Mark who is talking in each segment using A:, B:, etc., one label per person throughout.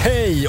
A: Hej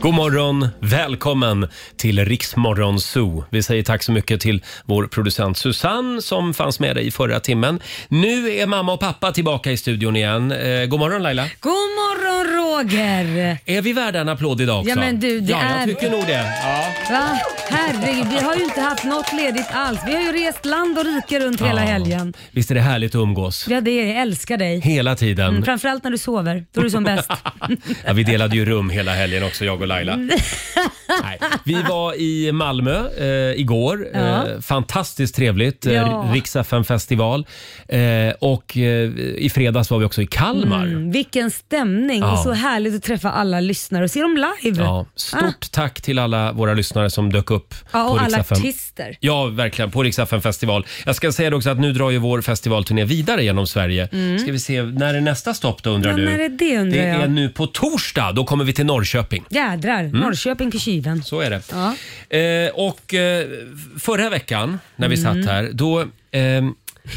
A: God morgon, välkommen till Riksmorgonzoo. Vi säger tack så mycket till vår producent Susanne som fanns med dig i förra timmen. Nu är mamma och pappa tillbaka i studion igen. Eh, god morgon Laila!
B: God morgon Roger!
A: Är vi värda en applåd idag också?
B: Ja, men du, det
A: ja, jag
B: är-
A: tycker nog det. Ja.
B: Va? Herregud, vi har ju inte haft något ledigt alls. Vi har ju rest land och rike runt hela
A: Ja.
B: helgen.
A: Visst är det härligt att umgås?
B: Ja, det är Jag älskar dig.
A: Hela tiden.
B: Mm, framförallt när du sover. Då är du som bäst.
A: Ja, vi delade ju rum hela helgen också, jag och Laila. Nej, vi var i Malmö eh, igår. Eh,
B: Ja.
A: fantastiskt trevligt.
B: Ja.
A: Ja. Rix festival eh, Och eh, i fredags var vi också i Kalmar.
B: Mm, vilken stämning
A: Ja.
B: och så härligt att träffa alla lyssnare och se dem live.
A: Ja, stort
B: Ah.
A: tack till alla våra lyssnare som dök upp
B: Ja,
A: på
B: och alla
A: Rix FM.
B: artister.
A: Ja, verkligen. På Rix FM festival. Jag ska säga det också att nu drar ju vår festivalturné vidare genom Sverige.
B: Mm.
A: Ska vi se, när är nästa stopp då undrar
B: Ja,
A: du?
B: när är det, undrar
A: det
B: jag.
A: är nu på torsdag. Då kommer vi till Norrköping.
B: Jädrar,
A: Mm.
B: Norrköping på kiven.
A: Så är det.
B: Ja.
A: Eh, och eh, förra veckan när vi
B: Mm.
A: satt här, då eh,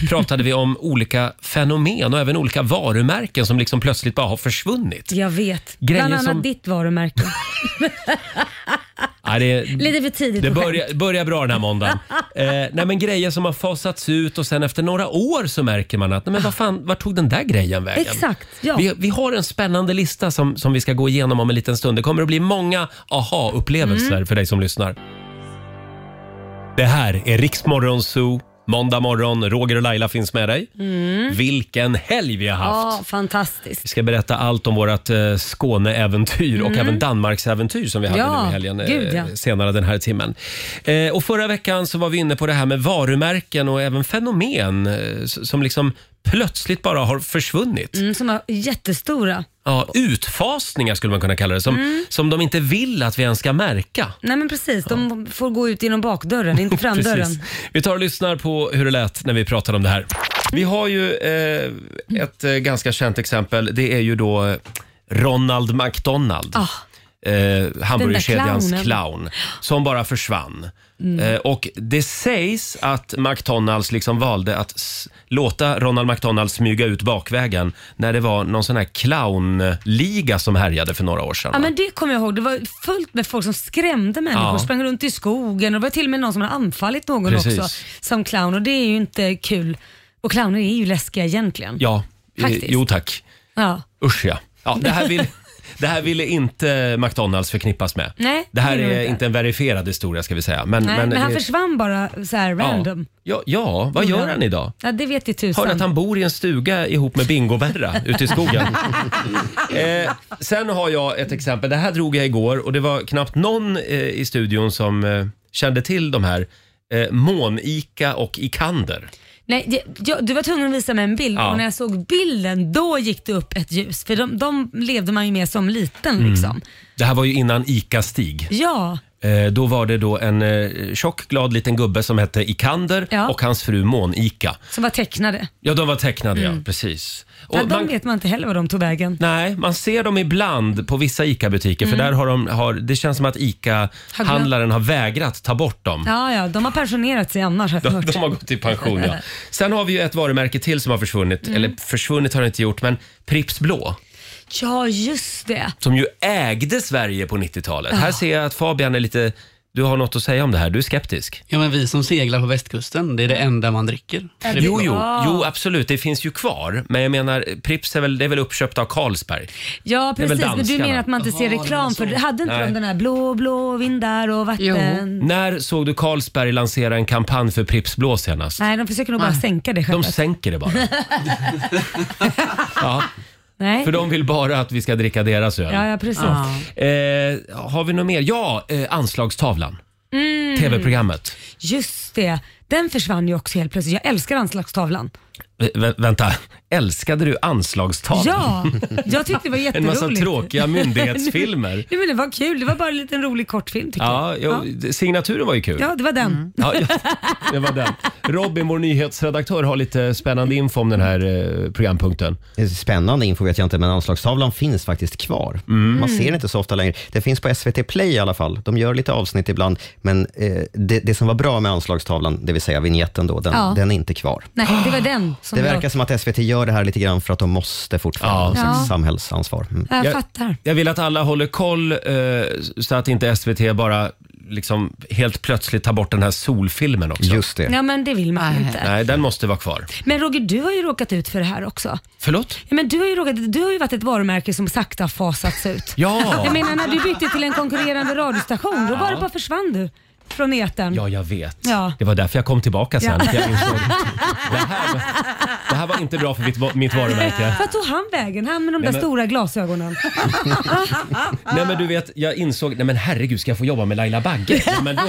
A: pratade vi om olika fenomen och även olika varumärken som liksom plötsligt bara har försvunnit.
B: Jag vet.
A: Grejer
B: Bland annat
A: som-
B: ditt varumärke.
A: Ja, det,
B: Lite för tidigt
A: det
B: på skämt.
A: börjar, börjar bra den här måndagen. Eh, nej, men grejer som har fasats ut och sen efter några år så märker man att nej, men vad fan, vart tog den där grejen vägen?
B: Exakt, ja.
A: Vi, vi har en spännande lista som, som vi ska gå igenom om en liten stund. Det kommer att bli många aha-upplevelser
C: Mm.
A: för dig som lyssnar. Det här är Riksmorgon Zoo. Måndag morgon, Roger och Laila finns med dig.
B: Mm.
A: Vilken helg vi har haft!
B: Ja, fantastiskt.
A: Vi ska berätta allt om vårt eh, Skåneäventyr och
B: Mm.
A: även Danmarksäventyr som vi hade
B: Ja,
A: nu i helgen eh,
B: gud, ja.
A: senare den här timmen. Eh, och förra veckan så var vi inne på det här med varumärken och även fenomen eh, s- som liksom plötsligt bara har försvunnit.
B: Mm, som var jättestora.
A: Ja, utfasningar skulle man kunna kalla det, som,
B: Mm.
A: som de inte vill att vi ens ska märka.
B: Nej men precis, de får gå ut genom bakdörren, inte framdörren.
A: Precis. Vi tar och lyssnar på hur det lät när vi pratade om det här. Vi har ju eh, ett eh, ganska känt exempel. Det är ju då eh, Ronald McDonald.
B: Ah.
A: Eh, hamburgerkedjans
D: clownen.
A: clown som bara försvann.
D: Mm.
A: Eh, och det sägs att McDonalds liksom valde att s- låta Ronald McDonald smyga ut bakvägen när det var någon sån här clownliga som härjade för några år sedan.
B: Ja men det kommer jag ihåg, det var fullt med folk som skrämde människor,
A: Ja.
B: sprang runt i skogen och det var till och med någon som hade anfallit någon
A: Precis.
B: också som clown och det är ju inte kul. Och clowner är ju läskiga egentligen.
A: Ja, eh,
B: Faktiskt.
A: jo tack.
B: Ja.
A: Usch ja. ja det, här vill, det här ville inte McDonalds förknippas med.
B: Nej,
A: det här
B: det vill
A: är
B: jag inte.
A: inte en verifierad historia ska vi säga. Men,
B: Nej, men, han
A: det-
B: försvann bara så här random.
A: Ja, ja, vad gör han idag?
B: Ja, det vet ju tusan.
A: Hörde att han bor i en stuga ihop med Bingo-Berra ute i skogen. eh, sen har jag ett exempel. Det här drog jag igår och det var knappt någon eh, i studion som eh, kände till de här. Eh, Monika och Ikander.
B: Nej, det- jag, du var tvungen att visa mig en bild
A: Ja.
B: och när jag såg bilden då gick det upp ett ljus. För de, de levde man ju med som liten
A: Mm.
B: liksom.
A: Det här var ju innan ICA-Stig.
B: Ja,
A: Eh, Då var det då en eh, tjock, glad liten gubbe som hette Ikander
B: Ja.
A: och hans fru Monika.
B: som var tecknade.
A: Ja, de var tecknade, ja.
B: Mm.
A: Precis. Och
B: Ja, de
A: man,
B: vet man inte heller vad de tog vägen.
A: nej, man ser dem ibland på vissa ICA-butiker för
B: Mm.
A: där har de, har, det känns som att
B: glömt-
A: ICA-handlaren har vägrat ta bort dem.
B: Ja, ja, de har pensionerat sig annars har jag
A: De,
B: hört.
A: de har gått i pension, ja. Sen har vi ju ett varumärke till som har försvunnit.
B: Mm.
A: Eller försvunnit har det inte gjort, men Pripps Blå.
B: Ja, just det.
A: Som ju ägde Sverige på 90-talet.
B: Ja.
A: Här ser jag att Fabian är lite... Du har något att säga om det här. Du är skeptisk.
E: Ja, men vi som seglar på västkusten, det är det
A: Mm.
E: enda man dricker.
A: Jo, jo, jo,
B: Ah.
A: absolut. Det finns ju kvar. Men jag menar, Pripps är väl, det är väl uppköpt av Carlsberg?
B: Ja,
A: Det är väl
B: precis. Men du
A: danskarna?
B: menar att man inte ser reklam för det hade inte
A: Nej.
B: de den här blå, blå vindar och vatten?
A: När såg du Carlsberg lansera en kampanj för Pripps Blå senast?
B: Nej, de försöker nog bara sänka det
A: De
B: skeppet.
A: sänker det bara. ja,
B: Nej.
A: för de vill bara att vi ska dricka deras öl.
B: Ja, ja, precis.
A: Eh, har vi något mer? Ja, eh, Anslagstavlan.
B: Mm.
A: TV-programmet.
B: Just det. Den försvann ju också helt plötsligt. Jag älskar anslagstavlan.
A: Vä- vä- vänta, älskade du Anslagstavlan?
B: Ja, jag tyckte det var
A: En
B: jätteroligt.
A: massa tråkiga myndighetsfilmer.
B: Nej, men det var kul. Det var bara en liten rolig kortfilm tycker
A: Ja,
B: jag.
A: jo, signaturen var ju kul.
B: Ja, det var den.
A: Ja, ja, det var den. Robin, vår nyhetsredaktör, har lite spännande info om den här eh, programpunkten.
F: Spännande info vet jag inte, men anslagstavlan finns faktiskt kvar. Man ser den inte så ofta längre. Det finns på SVT Play i alla fall. De gör lite avsnitt ibland, men eh, det, det som var bra med anslagstavlan, det vi säga, vignetten då, den,
B: Ja.
F: den är inte kvar.
B: Nej, det var den som
F: Det
B: jag-
F: verkar som att SVT gör det här lite grann för att de måste fortfarande
B: Ja.
F: ha
B: Ja.
F: sitt samhällsansvar. Mm.
B: Jag,
A: Jag-
B: fattar.
A: Jag vill att alla håller koll eh, så att inte SVT bara liksom helt plötsligt tar bort den här solfilmen också.
F: Just det.
B: Ja, men det vill man
E: Nej.
B: inte.
A: Nej, den måste vara kvar.
B: Men Roger, du har ju råkat ut för det här också.
A: Förlåt?
B: Ja, men du, har ju råkat, du har ju varit ett varumärke som sakta fasats ut.
A: Ja.
B: Jag menar när du bytte till en konkurrerande radiostation, då var det bara försvann du från etern.
A: Ja, jag vet.
B: Ja.
A: Det var därför jag kom tillbaka sen.
B: Ja.
A: för Jag insåg, det, här, det här var inte bra för mitt, va- mitt varumärke.
B: Vart tog han vägen? Han med de där
A: Nej, men-
B: stora glasögonen.
A: Nej, men du vet, jag insåg, nej men herregud, ska jag få jobba med Laila Bagge? Ja, men då,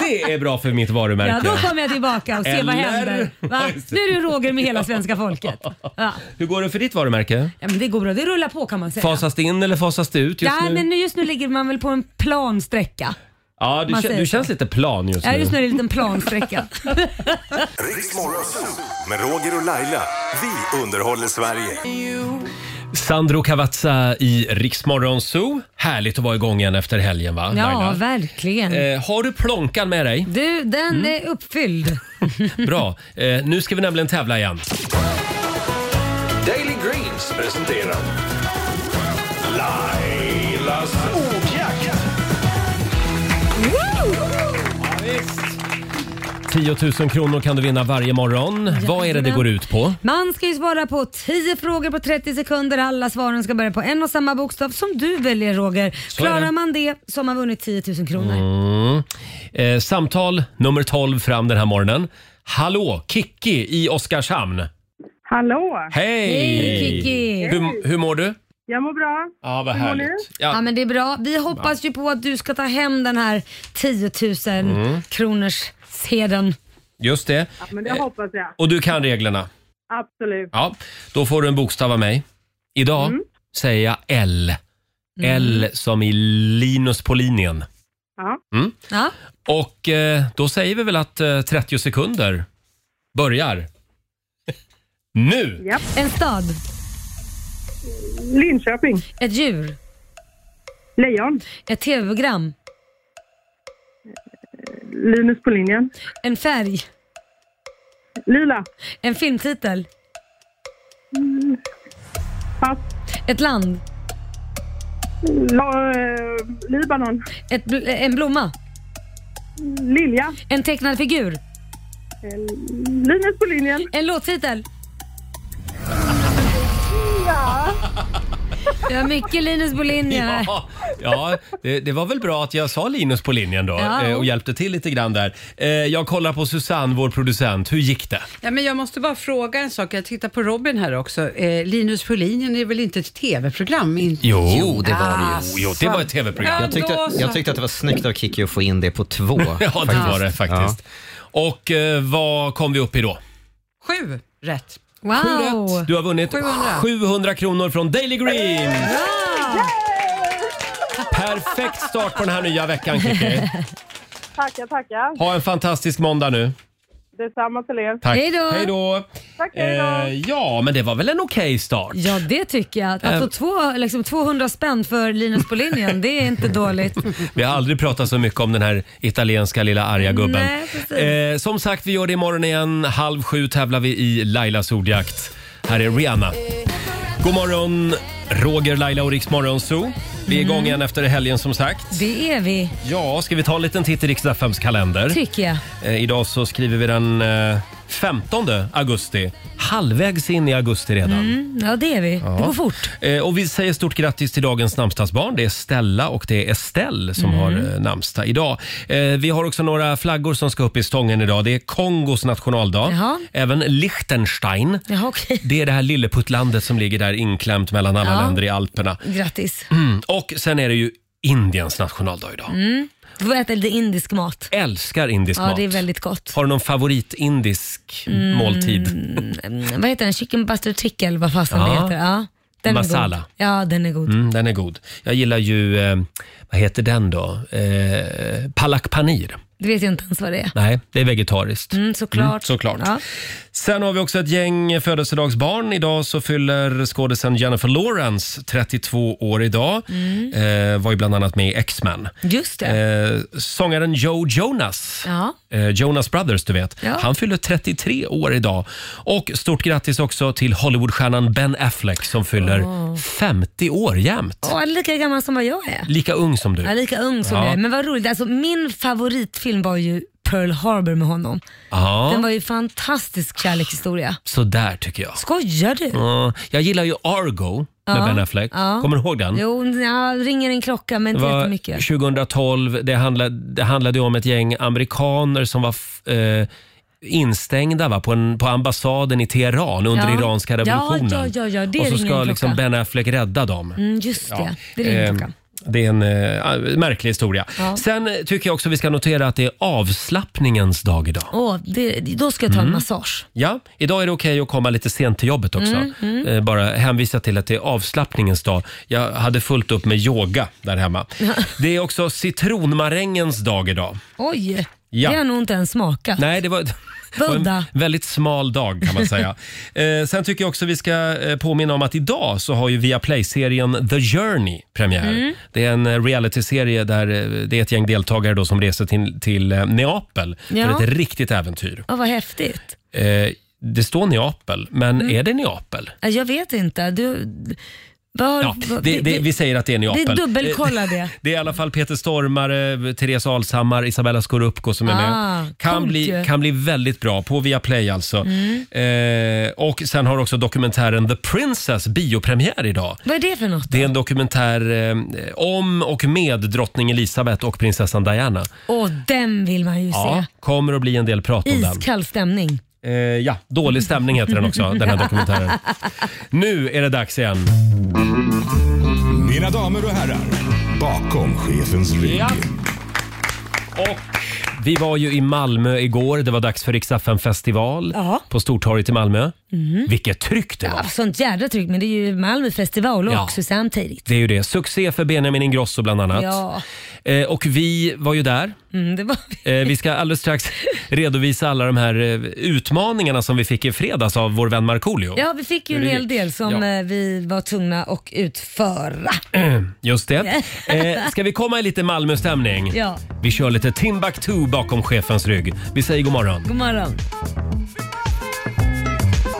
A: det är bra för mitt varumärke.
B: Ja, då kommer jag tillbaka och ser vad
A: Eller?
B: händer. Va? Nu är du Roger med hela svenska folket. Ja.
A: Hur går det för ditt varumärke?
B: Ja, men det går bra, det rullar på kan man säga.
A: Fasas det in eller fasas det ut just
B: ja,
A: nu?
B: men nu- just nu ligger man väl på en plan sträcka.
A: Ja, du,
B: man
A: kä-
B: säger
A: du
B: så.
A: känns lite plan just
B: Ja,
A: nu.
B: just nu är det en liten plansträcka.
C: Riks Morgonzoo med Roger och Laila. Vi underhåller Sverige.
A: Sandro Cavazza i Riksmorgon Zoo. Härligt att vara igång igen efter helgen va?
B: Ja,
A: Laila?
B: verkligen.
A: eh, Mm. har du plånkan med dig?
B: Du, den är uppfylld.
A: Bra. Eh, nu ska vi nämligen tävla igen.
D: Daily Greens presenterar Lailas ordjakt.
A: 10 000 kronor kan du vinna varje morgon. Vad är det det går ut på?
B: Man ska ju svara på 10 frågor på 30 sekunder. Alla svaren ska börja på en och samma bokstav som du väljer Roger.
A: är det. Mm.
B: Klarar man det så har man vunnit 10 000 kronor.
A: Eh, samtal nummer 12 fram den här morgonen. Hallå, Kikki i Oskarshamn.
G: Hallå!
A: Hej!
B: Hej, Kikki.
A: Hur, hur mår du?
G: Jag mår bra.
A: Ja, vad
G: Hur mår
A: härligt.
B: Ja
A: Ja,
B: men det är bra. Vi hoppas ju på att du ska ta hem den här 10 000
A: Mm.
B: kronors sedeln.
A: just det.
G: Men det hoppas jag.
A: Och du kan reglerna?
G: Absolut.
A: Ja, då får du en bokstav av mig. Idag säger jag L. L som i Linus på linjen.
G: Ja.
B: Ja.
A: Och eh, då säger vi väl att eh, 30 sekunder börjar. Nu!
B: En stad,
G: Linköping.
B: ett djur,
G: Lejon.
B: ett tv-program,
G: Linus på linjen.
B: en färg,
G: Lila.
B: en filmtitel,
G: Pass.
B: ett land,
G: La, eh, Libanon.
B: ett, bl- en blomma,
G: Lilja.
B: en tecknad figur,
G: Eh, Linus på linjen.
B: en låttitel. Ja. Det var mycket Linus Bolin. Ja.
A: Ja, ja det, det var väl bra att jag sa Linus på linjen då
B: Ja.
A: eh, och hjälpte till lite grann där. Eh, jag kollar på Susanne, vår producent. Hur gick det?
H: Ja, men jag måste bara fråga en sak. Jag tittar på Robin här också. Eh, Linus på linjen är väl inte ett tv-program? In-
F: Jo, det var det ju.
A: Ah, Jo, jo, det var ett tv-program.
H: Ja,
F: Jag tyckte,
H: då så.
F: jag tyckte att det var snyggt av Kikki att få in det på två.
A: Ja, det var det faktiskt. Och eh, vad kom vi upp i då?
H: Sju rätt.
B: Wow!
A: Du har vunnit 700,
H: 700.
A: kronor från Daily Green! Perfekt start på den här nya veckan, Kikki.
G: Tackar, tackar.
A: Ha en fantastisk måndag nu.
G: Detsamma till er.
A: Tack.
B: Hej då.
A: Hej då.
G: Tack, hej då.
A: Eh, ja, men det var väl en okej start?
B: Ja, det tycker jag. Att
A: Eh.
B: få två, liksom 200 spänn för Linus på linjen, det är inte dåligt.
A: Vi har aldrig pratat så mycket om den här italienska lilla arga gubben.
B: Nej, precis.
A: eh, som sagt, vi gör det imorgon igen. Halv sju tävlar vi i Lailas ordjakt. Här är Rihanna. God morgon, Roger, Laila och Riks Morgonzoo. Vi är
B: Mm.
A: igång igen efter helgen som sagt.
B: Det är vi,
A: Ja, ska vi ta en liten titt i Riks-FMs kalender?
B: tycker jag.
A: Eh, idag så skriver vi den eh, 15 augusti. Halvvägs in i augusti redan.
B: Ja, det är vi. Det går fort.
A: Eh, och vi säger stort grattis till dagens namnsdagsbarn. Det är Stella och det är Estelle
B: Mm.
A: som har eh, namnsdag idag. Eh, vi har också några flaggor som ska upp i stången idag. Det är Kongos nationaldag.
B: Jaha.
A: Även Liechtenstein.
B: Jaha, okej.
A: Det är det här lilleputtlandet som ligger där inklämt mellan alla
B: Ja.
A: länder i Alperna.
B: Grattis.
A: Mm. Och sen är det ju Indiens nationaldag idag.
B: Du får äta lite indisk mat.
A: Älskar indisk
B: Mm. Ja,
A: mat.
B: det är väldigt gott.
A: Har du någon favoritindisk måltid?
B: Mm, vad heter den? Chicken butter trick eller vad fasen det
A: Ja.
B: heter. Ja, den
A: Masala.
B: Är god. Ja, den är god.
A: Mm, den är god. Jag gillar ju, eh, vad heter den då? Eh, palak panir.
B: Det vet jag inte ens vad det är.
A: Nej, det är vegetariskt.
B: Mm, såklart.
A: såklart.
B: Ja.
A: Sen har vi också ett gäng födelsedagsbarn. Idag så fyller skådisen Jennifer Lawrence 32 år idag. Eh, var ju bland annat med i X-Men.
B: Just det.
A: Eh, sångaren Joe Jonas,
B: Ja.
A: eh, Jonas Brothers du vet,
B: Ja.
A: han fyller 33 år idag. Och stort grattis också till Hollywoodstjärnan Ben Affleck som fyller 50 år jämt.
B: Åh, han är lika gammal som vad jag är.
A: Lika ung som du.
B: Jag är lika ung som
A: Ja.
B: jag är. Men vad roligt, alltså, min favoritfilm var ju Pearl Harbor med honom.
A: Ja,
B: Den var ju fantastisk kärlekshistoria.
A: sådär tycker jag.
B: Skojar du?
A: Ja, jag gillar ju Argo med
B: Ja,
A: Ben Affleck.
B: ja.
A: Kommer du ihåg den?
B: Jo, ja, ringer en klocka men
A: Det
B: inte
A: var
B: jättemycket.
A: 2012. Det handlade, det handlade ju om ett gäng amerikaner som var f- eh, instängda va? På, en, på ambassaden i Teheran under
B: Ja.
A: iranska revolutionen.
B: Ja, ja, ja, ja, det
A: Och så
B: ringer en
A: ska
B: klocka.
A: liksom Ben Affleck rädda dem.
B: Mm, just det,
A: Ja.
B: det ringer en
A: Eh,
B: klocka.
A: det är en eh, märklig historia.
B: Ja.
A: Sen tycker jag också vi ska notera att det är avslappningens dag idag.
B: Åh, det, då ska jag ta
A: Mm.
B: en massage.
A: Ja, idag är det okej att komma lite sent till jobbet också.
B: Mm,
A: Eh, Bara hänvisa till att det är avslappningens dag. Jag hade fullt upp med yoga där hemma. Det är också citronmarängens dag idag.
B: Oj,
A: Ja.
B: det har jag nog inte ens smakat.
A: Nej, det var, det var en
B: Udda.
A: väldigt smal dag kan man säga. eh, sen tycker jag också vi ska eh, påminna om att idag så har ju Viaplay-serien The Journey premiär. Det är en eh, realityserie där eh, det är ett gäng deltagare då som reser till, till eh, Neapel
B: Ja.
A: för ett riktigt äventyr.
B: Åh, vad häftigt.
A: Eh, det står Neapel, men är det Neapel?
B: Ja, Jag vet inte. Du, var,
A: Ja,
B: var-
A: det, det, vi säger att det är
B: det
A: Neapel. Eh,
B: är dubbelkolla det.
A: Det är i alla fall Peter Stormare, Therese Alshammar, Isabella Scorupco som är
B: Ah,
A: med. Kan
B: coolt
A: bli,
B: ju. Mm.
A: kan bli väldigt bra på Viaplay alltså. Eh, och sen har också dokumentären The Princess biopremiär idag.
B: Vad är det för något?
A: Det är en dokumentär eh, om och med drottning Elizabeth och prinsessan Diana.
B: Åh, den vill man ju
A: Ja, kommer att bli en del prat
B: se.
A: om den.
B: Iskall stämning.
A: Eh, ja, Dålig stämning heter den också, den här dokumentären. Nu är det dags igen.
D: Mina damer och herrar, bakom chefens rygg.
A: Ja. Och vi var ju i Malmö igår. Det var dags för Riksdagen festival
B: Ja. Mhm.
A: på Stortorget i Malmö. Vilket tryck det var!
B: Ja, sånt jädra tryck, men det är ju Malmö festival
A: Ja.
B: också samtidigt.
A: Det är ju det. Succé för Benjamin Ingrosso bland annat.
B: Ja,
A: Eh, och vi var ju där.
B: mm, det var...
A: Eh, vi ska alldeles strax redovisa alla de här eh, utmaningarna som vi fick i fredags av vår vän Markoolio.
B: ja, vi fick ju en
A: Hur det
B: hel
A: gick.
B: del som
A: Ja.
B: eh, vi var tvungna att utföra.
A: Just det. Eh, ska vi komma i lite Malmö-stämning?
B: Ja.
A: Vi kör lite Timbuktu bakom chefens rygg. Vi säger god morgon.
B: God morgon.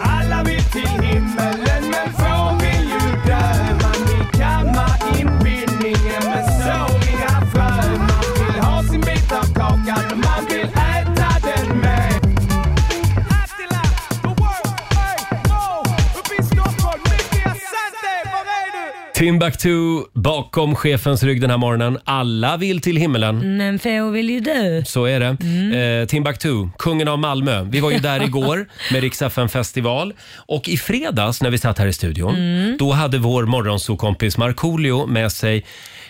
D: Alla vill till himmelen men från vill ju dö. Man vill kamma inbildningen men såriga frön. Man vill ha sin bit av kakan och man vill äta den med.
A: Timbuktu bakom chefens rygg den här morgonen. Alla vill till himmelen.
B: Men Feo vill ju dö.
A: Så är det.
B: Mm.
A: Eh, Timbuktu, kungen av Malmö. Vi var ju där igår med Rix FM festival. Och i fredags när vi satt här i studion,
B: Mm.
A: då hade vår morgonsokompis Markoolio med sig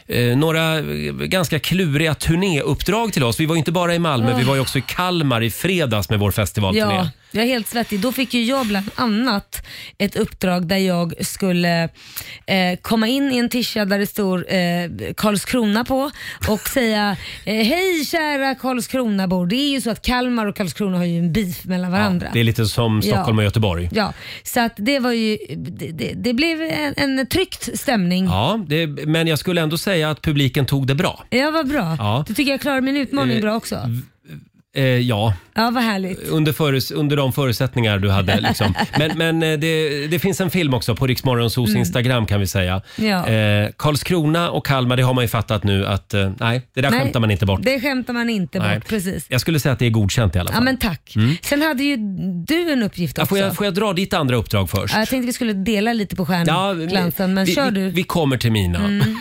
A: eh, några eh, ganska kluriga turnéuppdrag till oss. Vi var ju inte bara i Malmö, vi var ju också i Kalmar i fredags med vår festivalturné.
B: Ah. Ja, jag är helt svettig. Då fick ju jag bland annat ett uppdrag där jag skulle eh, komma in i en tisha där det stod eh, Karlskrona på och säga eh, Hej kära Karlskronabor. Det är ju så att Kalmar och Karlskrona har ju en beef mellan varandra.
A: Det är lite som Stockholm
B: Ja. Mm.
A: och Göteborg.
B: Ja, så att det var ju, det, det, det blev en, en tryckt stämning. Ja.
A: Ja, det, men jag skulle ändå säga att publiken tog det bra.
B: vad bra.
A: Ja.
B: Du tycker jag klarade min utmaning bra också.
A: Eh, ja,
B: Ja, vad härligt.
A: under, förus, under de förutsättningar du hade. Liksom. Men, men eh, det, det finns en film också på Riksmorgonsos Instagram kan vi säga.
B: Mm. Ja.
A: Eh, Karlskrona och Kalmar, det har man ju fattat nu att eh, nej, det där
B: Nej,
A: skämtar man inte bort.
B: Det skämtar man inte
A: Nej.
B: bort, precis.
A: Jag skulle säga att det är godkänt i alla fall. Mm.
B: Ja men tack. Sen hade ju du en uppgift
A: Ja,
B: också.
A: får, jag, får jag dra ditt andra uppdrag först?
B: Ja, jag tänkte vi skulle dela lite på stjärnglansen, men
A: vi,
B: kör
A: vi,
B: du. Mm,
A: vi kommer till mina.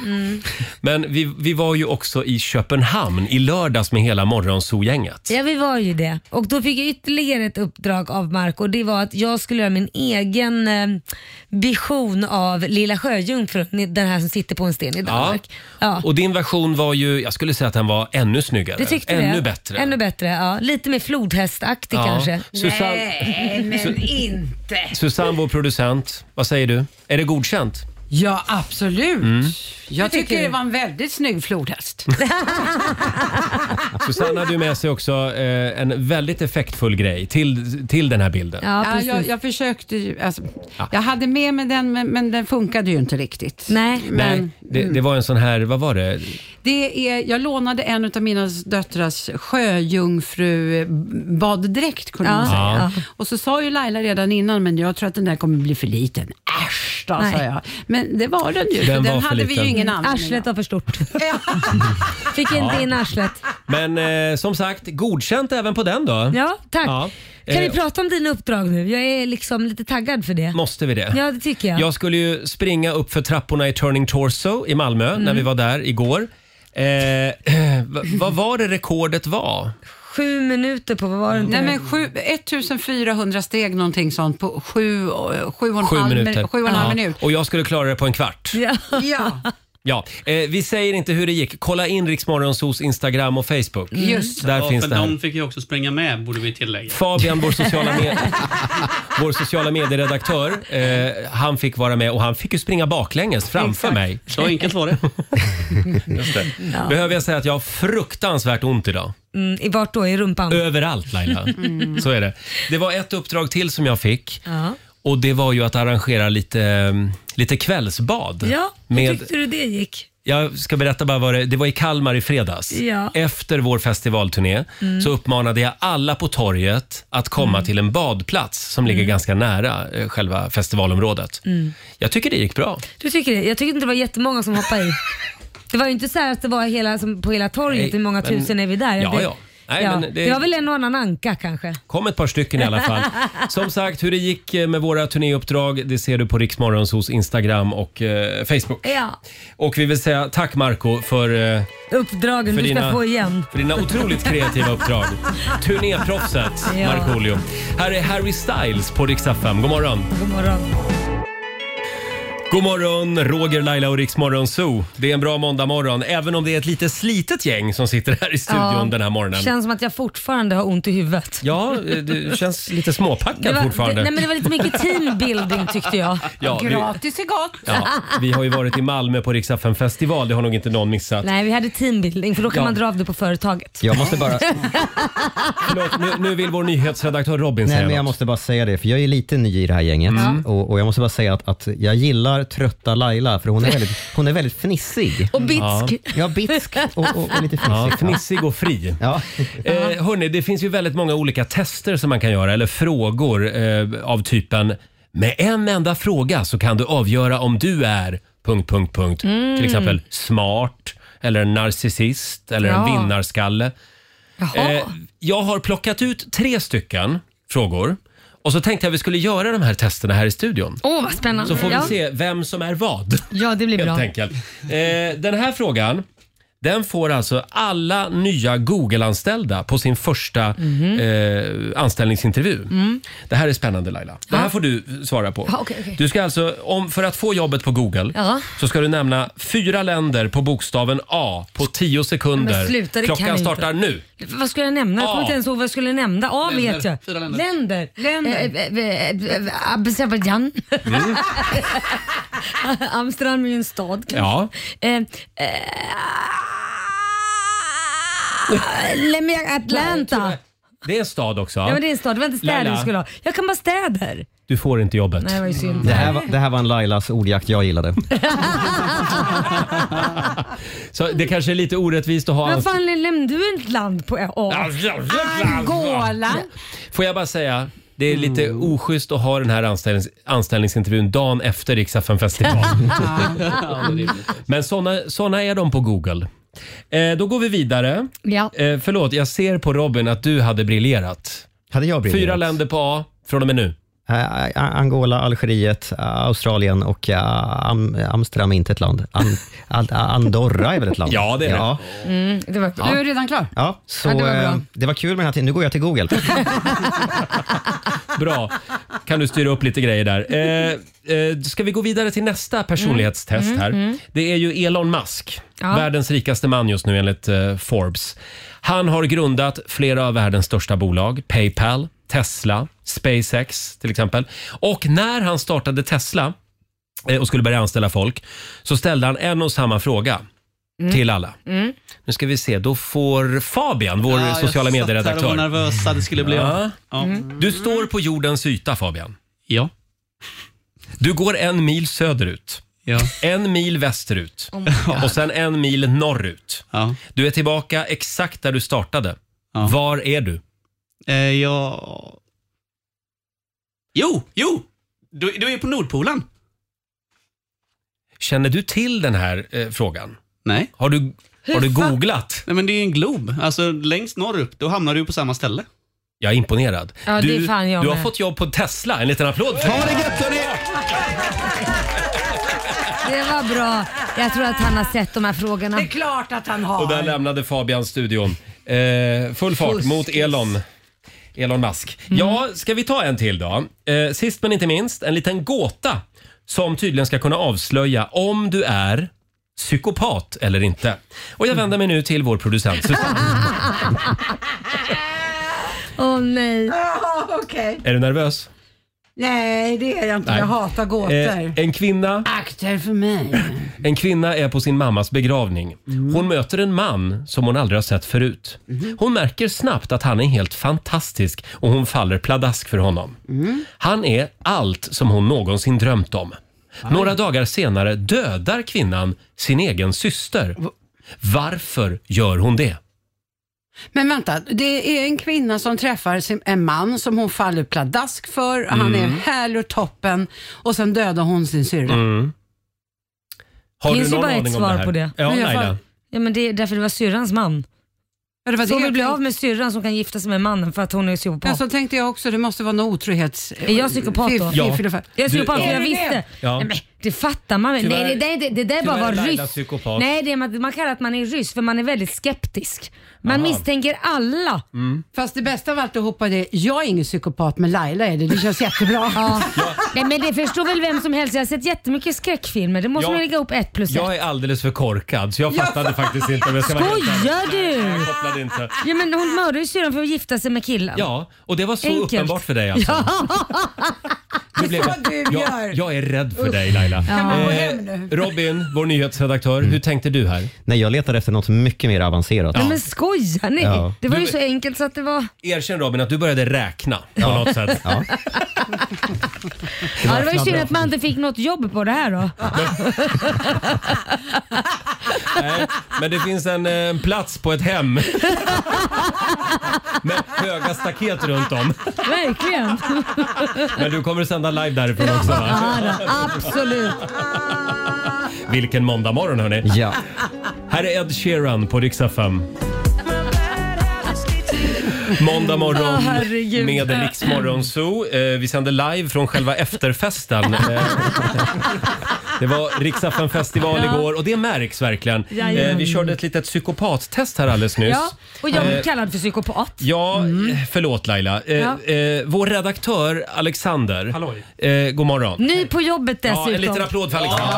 A: Men vi, vi var ju också i Köpenhamn i lördags med hela Morgonzoo-gänget.
B: Ja, vi var ju det. Och då fick jag ytterligare ett uppdrag av Mark och det var att jag skulle göra min egen eh, vision av Lilla Sjöjungfrun, den här som sitter på en sten i Danmark. Ja.
A: Och din version var ju, jag skulle säga att den var ännu snyggare.
B: Det tyckte
A: ännu
B: jag.
A: bättre.
B: Ännu bättre, ja. Lite mer flodhästaktig kanske.
A: Susanne,
H: Nej, men inte.
A: Susanne, vår producent, vad säger du? Är det godkänt?
H: Ja, absolut. Jag
B: tycker
H: tycker det
B: du?
H: var en väldigt snygg flodhäst.
A: Susanne hade ju med sig också eh, en väldigt effektfull grej till, till den här bilden.
B: Ja,
H: Ja,
B: precis.
H: jag, jag försökte ju, alltså, jag hade med mig den men, men den funkade ju inte riktigt.
B: Nej.
A: Nej,
H: Men- Mm.
A: det, det var en sån här, vad var det?
H: Det är, jag lånade en av mina döttrars sjöjungfru-baddräkt kunde
B: Ja,
H: man säga.
B: ja.
H: Och så sa ju Laila redan innan, men jag tror att den där kommer bli för liten. Äsch då, sa
B: Nej.
H: jag. Men det var den ju, för
A: Den
H: den,
A: var för
H: hade vi
A: liten.
H: ju ingen användning
B: Arslet
H: av.
B: var för stort. Fick inte in arslet.
A: Men eh, som sagt, godkänt även på den då.
B: Ja, tack.
A: Ja.
B: Kan vi
A: Eh,
B: prata om dina uppdrag nu? Jag är liksom lite taggad för det.
A: Måste vi det?
B: Ja, det tycker jag.
A: Jag skulle ju springa upp för trapporna i Turning Torso i Malmö
H: Mm.
A: när vi var där igår. Eh, vad- vad var det rekordet var?
B: Sju minuter på, vad var det inte?
H: Nej, men sju, 1400 steg någonting sånt på sju, eh, sju och en
A: Sju
H: halv,
A: minuter.
H: mi- sju och en halv
A: Ja.
H: minut.
A: Och jag skulle klara det på en kvart.
B: Ja.
H: Ja,
A: Ja. Eh, vi säger inte hur det gick. Kolla in Riksmorgonsos Instagram och Facebook.
B: Mm.
H: Just
A: Där
E: ja,
A: finns
E: för
A: det här.
E: de fick ju också springa med, borde vi tillägga.
A: Fabian, vår sociala, med- vår sociala medieredaktör, eh, han fick vara med och han fick ju springa baklänges framför mig.
E: Så enkelt var det.
A: Behöver jag säga att jag har fruktansvärt ont idag.
B: Mm, i vart då? I rumpan?
A: Eh. Överallt Laila.
B: Mm.
A: Så är det. Det var ett uppdrag till som jag fick.
B: Ja.
A: Och det var ju att arrangera lite, eh, lite kvällsbad.
B: Ja, hur
A: med,
B: tyckte du det gick?
A: jag ska berätta bara vad det, det var i Kalmar i fredags.
B: Ja.
A: Efter vår festivalturné så uppmanade jag alla på torget att komma till en badplats som ligger ganska nära eh, själva festivalområdet. Jag tycker det gick bra.
B: Du tycker det? Jag tycker inte det var jättemånga som hoppade i. Det var ju inte så här att det var hela, som på hela torget,
A: Nej,
B: hur många
A: men-
B: tusen är vi där?
A: Ja,
B: det,
A: ja. Nej, men det-
B: det... var väl en och annan anka kanske?
A: kom ett par stycken i alla fall. Som sagt, hur det gick eh, med våra turnéuppdrag det ser du på Riksmorgons hos Instagram och eh, Facebook.
B: Ja.
A: Och vi vill säga tack Marco för, eh,
B: Uppdragen
A: för,
B: du ska
A: dina,
B: få igen.
A: för dina otroligt kreativa uppdrag. Turnéproffset
B: Ja.
A: Markoolio. Här är Harry Styles på Rix FM. God morgon!
B: God morgon.
A: God morgon, Roger, Laila och Riksmorgon Zoo. Det är en bra måndagmorgon, även om det är ett lite slitet gäng som sitter här i studion
B: Ja.
A: den här morgonen.
B: Känns som att jag fortfarande har ont i huvudet.
A: Ja, eh, du känns lite
B: Det
A: småpackad
B: var,
A: fortfarande.
B: det, nej, men det var lite mycket teambuilding tyckte jag.
A: Ja, vi-
H: gratis är gott.
A: Ja, vi har ju varit i Malmö på Rix FM festival, det har nog inte någon missat.
B: Nej, vi hade teambuilding för då kan
A: Ja.
B: man dra av det på företaget.
F: Jag måste bara,
A: Förlåt, nu, nu vill vår nyhetsredaktör Robin
F: nej,
A: säga
F: men jag
A: något.
F: måste bara säga det, för jag är lite ny i det här gänget.
B: Mm.
F: Och, och jag måste bara säga att, att jag gillar trötta Laila, för hon är väldigt, hon är väldigt fnissig.
B: Och bitsk.
F: Ja, bitsk och, och, och lite
A: Ja,
F: fnissig.
A: fnissig och fri.
F: Ja.
A: Eh, hörni, det finns ju väldigt många olika tester som man kan göra, eller frågor eh, av typen med en enda fråga så kan du avgöra om du är... Punkt, punkt, punkt.
B: Mm.
A: Till exempel smart, eller en narcissist, eller en
B: Ja.
A: vinnarskalle.
B: Jaha.
A: Eh, jag har plockat ut tre stycken frågor och så tänkte jag vi skulle göra de här testerna här i studion.
B: Åh, vad spännande.
A: Så får vi
B: ja.
A: se vem som är vad.
B: ja, det blir
A: Helt
B: bra.
A: enkelt. Eh, den här frågan den får alltså alla nya Google-anställda på sin första
B: Mhm.
A: eh, anställningsintervju. Det här är spännande Laila. Det här får du svara på.
B: Mm. Ja, okej, okej.
A: Du ska alltså, om, för att få jobbet på Google
B: Ja.
A: så ska du nämna fyra länder på bokstaven A på 10 sekunder.
B: Men sluta, det kan
A: Klockan
B: jag inte.
A: startar nu.
B: Vad skulle jag nämna? Jag kommer
A: Ja.
B: inte ens ihåg vad jag skulle nämna. Ja,
E: Länder.
B: vet jag.
E: Fyra länder.
B: Länder.
H: Länder.
B: Eh, eh, eh, eh, Azerbajdzjan.
A: Mm.
B: Amsterdam är ju en stad kanske.
A: Ja.
B: Eh, eh, Lämna Atlanta.
A: Det är en stad också.
B: Ja, men det är en stad. Det var inte städer
A: Laila.
B: du skulle ha. Jag kan bara städer.
A: Du får inte jobbet.
B: Nej, det var ju synd.
F: Det här, var, det här var en Lailas ordjakt jag gillade.
A: Så det kanske är lite orättvist att ha
B: Vad
A: anst-
B: fan nämnde du ett land på A?
H: Angola.
A: Får jag bara säga, det är lite oschysst att ha den här anställnings anställningsintervjun dagen efter Rix FM festival. Men såna, såna är de på Google. Eh, då går vi vidare.
B: Ja.
A: Eh, förlåt, jag ser på Robin att du hade briljerat.
F: Hade jag briljerat?
A: Fyra länder på A från och med nu.
F: Eh, eh, Angola, Algeriet, eh, Australien och eh, Am Amsterdam är inte ett land. Am Al- Andorra är väl ett land?
A: Ja, det är det.
F: ja.
B: Det var,
H: Du är redan klar.
F: Ja, så
B: Ja, det var bra.
F: eh, det var kul med den här tiden. Nu går jag till Google.
A: Bra. Kan du styra upp lite grejer där. Eh, eh, ska vi gå vidare till nästa personlighetstest här? Det är ju Elon Musk.
B: Ja.
A: Världens rikaste man just nu enligt eh, Forbes. Han har grundat flera av världens största bolag. Paypal, Tesla, SpaceX till exempel. Och när han startade Tesla eh, och skulle börja anställa folk så ställde han en och samma fråga. till alla. Nu ska vi se, då får Fabian, vår
E: Ja,
A: sociala
E: Jag satt här och var
A: medieredaktör.
E: nervös att det skulle bli
A: Ja.
E: av. Ja.
A: Du står på jordens yta Fabian.
E: Ja.
A: Du går en mil söderut,
E: Ja.
A: en mil västerut
B: Oh
A: och sen en mil norrut.
E: ja.
A: Du är tillbaka exakt där du startade.
E: Ja.
A: Var är du?
E: Eh, jag... Jo, jo! Du, du är på Nordpolen.
A: Känner du till den här eh, frågan?
E: Nej.
A: Har du, har du
B: fan?
A: googlat?
E: Nej, men det är ju en glob. Alltså, längst norrut, då hamnar du på samma ställe.
A: Jag är imponerad.
B: Ja, det
A: du,
B: är fan jag
A: du har
B: med.
A: fått jobb på Tesla. En liten applåd för det.
B: Det var bra. Jag tror att han har sett de här frågorna.
H: Det är klart att han
A: Och där
H: har.
A: lämnade Fabian studion. Eh, full fart
B: Fuskis.
A: mot Elon. Elon Musk. Ja, ska vi ta en till då? Eh, sist men inte minst, en liten gåta som tydligen ska kunna avslöja om du är psykopat eller inte. Och jag vänder mig nu till vår producent Susanne.
B: Åh nej.
H: Ja, Okej.
A: Är du nervös?
H: Nej, det är jag inte.
A: Nej.
H: Jag hatar gåtor.
A: Eh, en kvinna
H: Akter för mig.
A: En kvinna är på sin mammas begravning. Hon möter en man som hon aldrig har sett förut. Hon märker snabbt att han är helt fantastisk och hon faller pladask för honom. Han är allt som hon någonsin drömt om. Några dagar senare dödar kvinnan sin egen syster. Varför gör hon det?
H: Men vänta, det är en kvinna som träffar sin- en man som hon faller pladask för. Han är
A: Mm.
H: härlig och toppen och sen dödar hon sin syrra.
A: Har
B: Finns
A: du någon
B: ju bara ett
A: aning om
B: svar
A: det här?
B: på det.
A: Ja,
H: Men jag
A: Laila.
H: får-
B: Ja, men det är därför det var syrrans man.
H: Ja, det var
B: Så
H: det
B: hon vill
H: jag
B: bli
H: tänkte.
B: av med syrran som kan gifta sig med mannen för att hon är
H: Men
B: psykopat.
A: Alltså,
H: så tänkte jag också, det måste vara någon otrohets...
B: Är jag psykopat då?
H: Fiff-
A: Ja.
H: fiff-
B: jag
A: Du-
B: är psykopat för
A: Är
B: jag
H: du
B: visste.
A: Ja.
B: Nej, men det fattar man väl?
A: Tyvärr-
B: Nej, det, där är inte- det där bara
A: tyvärr
B: var
A: Laila
B: ryss.
A: psykopat.
B: Nej, det är, man, man kallar att man är ryss för man är väldigt skeptisk. Man
A: Aha.
B: misstänker alla.
A: Mm.
H: Fast det bästa av alltihopa är, jag är ingen psykopat men Laila är det. Det känns jättebra.
B: Ja. Nej, men det förstår väl vem som helst. Jag har sett jättemycket skräckfilmer. Det måste
A: Ja.
B: man lägga upp ett plus ett.
A: Jag är alldeles för korkad så jag fattade faktiskt inte om jag ska vara helt ärlig.
B: Skojar du?
A: Jag kopplade inte.
B: Ja, men hon mördade ju syrran för att gifta sig med killen.
A: Ja, och det var så
B: Enkelt.
A: uppenbart för dig alltså. Nu blev jag, jag, jag är rädd för dig Laila. Eh, Mm. Robin, vår nyhetsredaktör, hur tänkte du här?
F: Nej, jag letar efter något mycket mer avancerat.
B: Nej, men skojar ni?
F: Ja.
B: Det var ju
A: Du-
B: så enkelt så att det var...
A: Erkänn Robin att du började räkna på något sätt.
F: Ja.
B: Ja, det var ju synd att man inte fick något jobb på det här då.
A: Nej, men det finns en, eh, en plats på ett hem. Med höga staket runt om.
B: Verkligen.
A: Men du kommer att sända live därifrån också va?
B: Ja, då, absolut.
A: Vilken måndag morgon hörni.
F: ja.
A: Här är Ed Sheeran på Rix FM. Måndag morgon
B: Åh, herregud.
A: med Rix Morgon Zoo. Eh, vi sänder live från själva efterfesten. Eh, det var Rix FM festival igår och det märks verkligen. Eh,
B: Jajamän.
A: vi körde ett litet psykopattest här alldeles nyss.
B: Ja, och jag
A: Eh,
B: blev kallad för psykopat.
A: Ja, förlåt Laila. Eh,
B: Ja.
A: eh, vår redaktör Alexander.
I: Halloj.
A: Eh, god morgon.
B: Ny på jobbet
A: Ja, en liten
B: dessutom.
A: applåd för Alexander.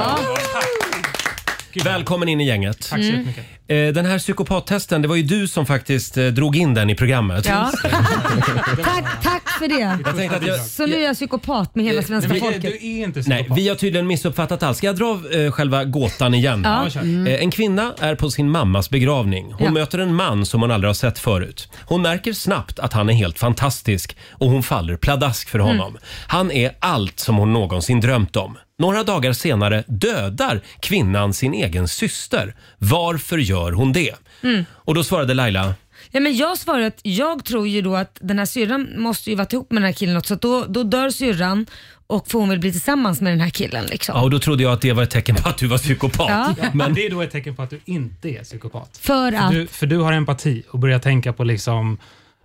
A: Välkommen in i gänget.
B: Mm.
I: Tack så jättemycket.
A: Eh, Den här psykopattesten, det var ju du som faktiskt eh, drog in den i programmet.
B: Ja. tack, tack för det.
A: Jag tänkte att jag,
B: Så nu är jag psykopat med hela svenska
I: Nej, men,
B: folket.
I: Du är inte
A: nej,
I: psykopat.
A: vi har tydligen missuppfattat allt. Ska jag dra eh, själva gåtan igen?
B: Ja.
A: Eh, En kvinna är på sin mammas begravning. Hon
B: Mm. Ja.
A: möter en man som hon aldrig har sett förut. Hon märker snabbt att han är helt fantastisk och hon faller pladask
B: Mm.
A: för honom. Han är allt som hon någonsin drömt om. Några dagar senare dödar kvinnan sin egen syster. Varför gör hon det?
B: Mm.
A: Och då svarade Laila,
B: Ja, men jag svarar att jag tror ju då att den här syrran måste ju varit ihop med den här killen också, så att då, då dör syrran och får hon väl bli tillsammans med den här killen. Liksom.
A: Ja, och då trodde jag att det var ett tecken på att du var psykopat.
B: Ja.
I: Men det är då ett tecken på att du inte är psykopat.
B: För att...
I: Du, för du har empati och börjar tänka på liksom,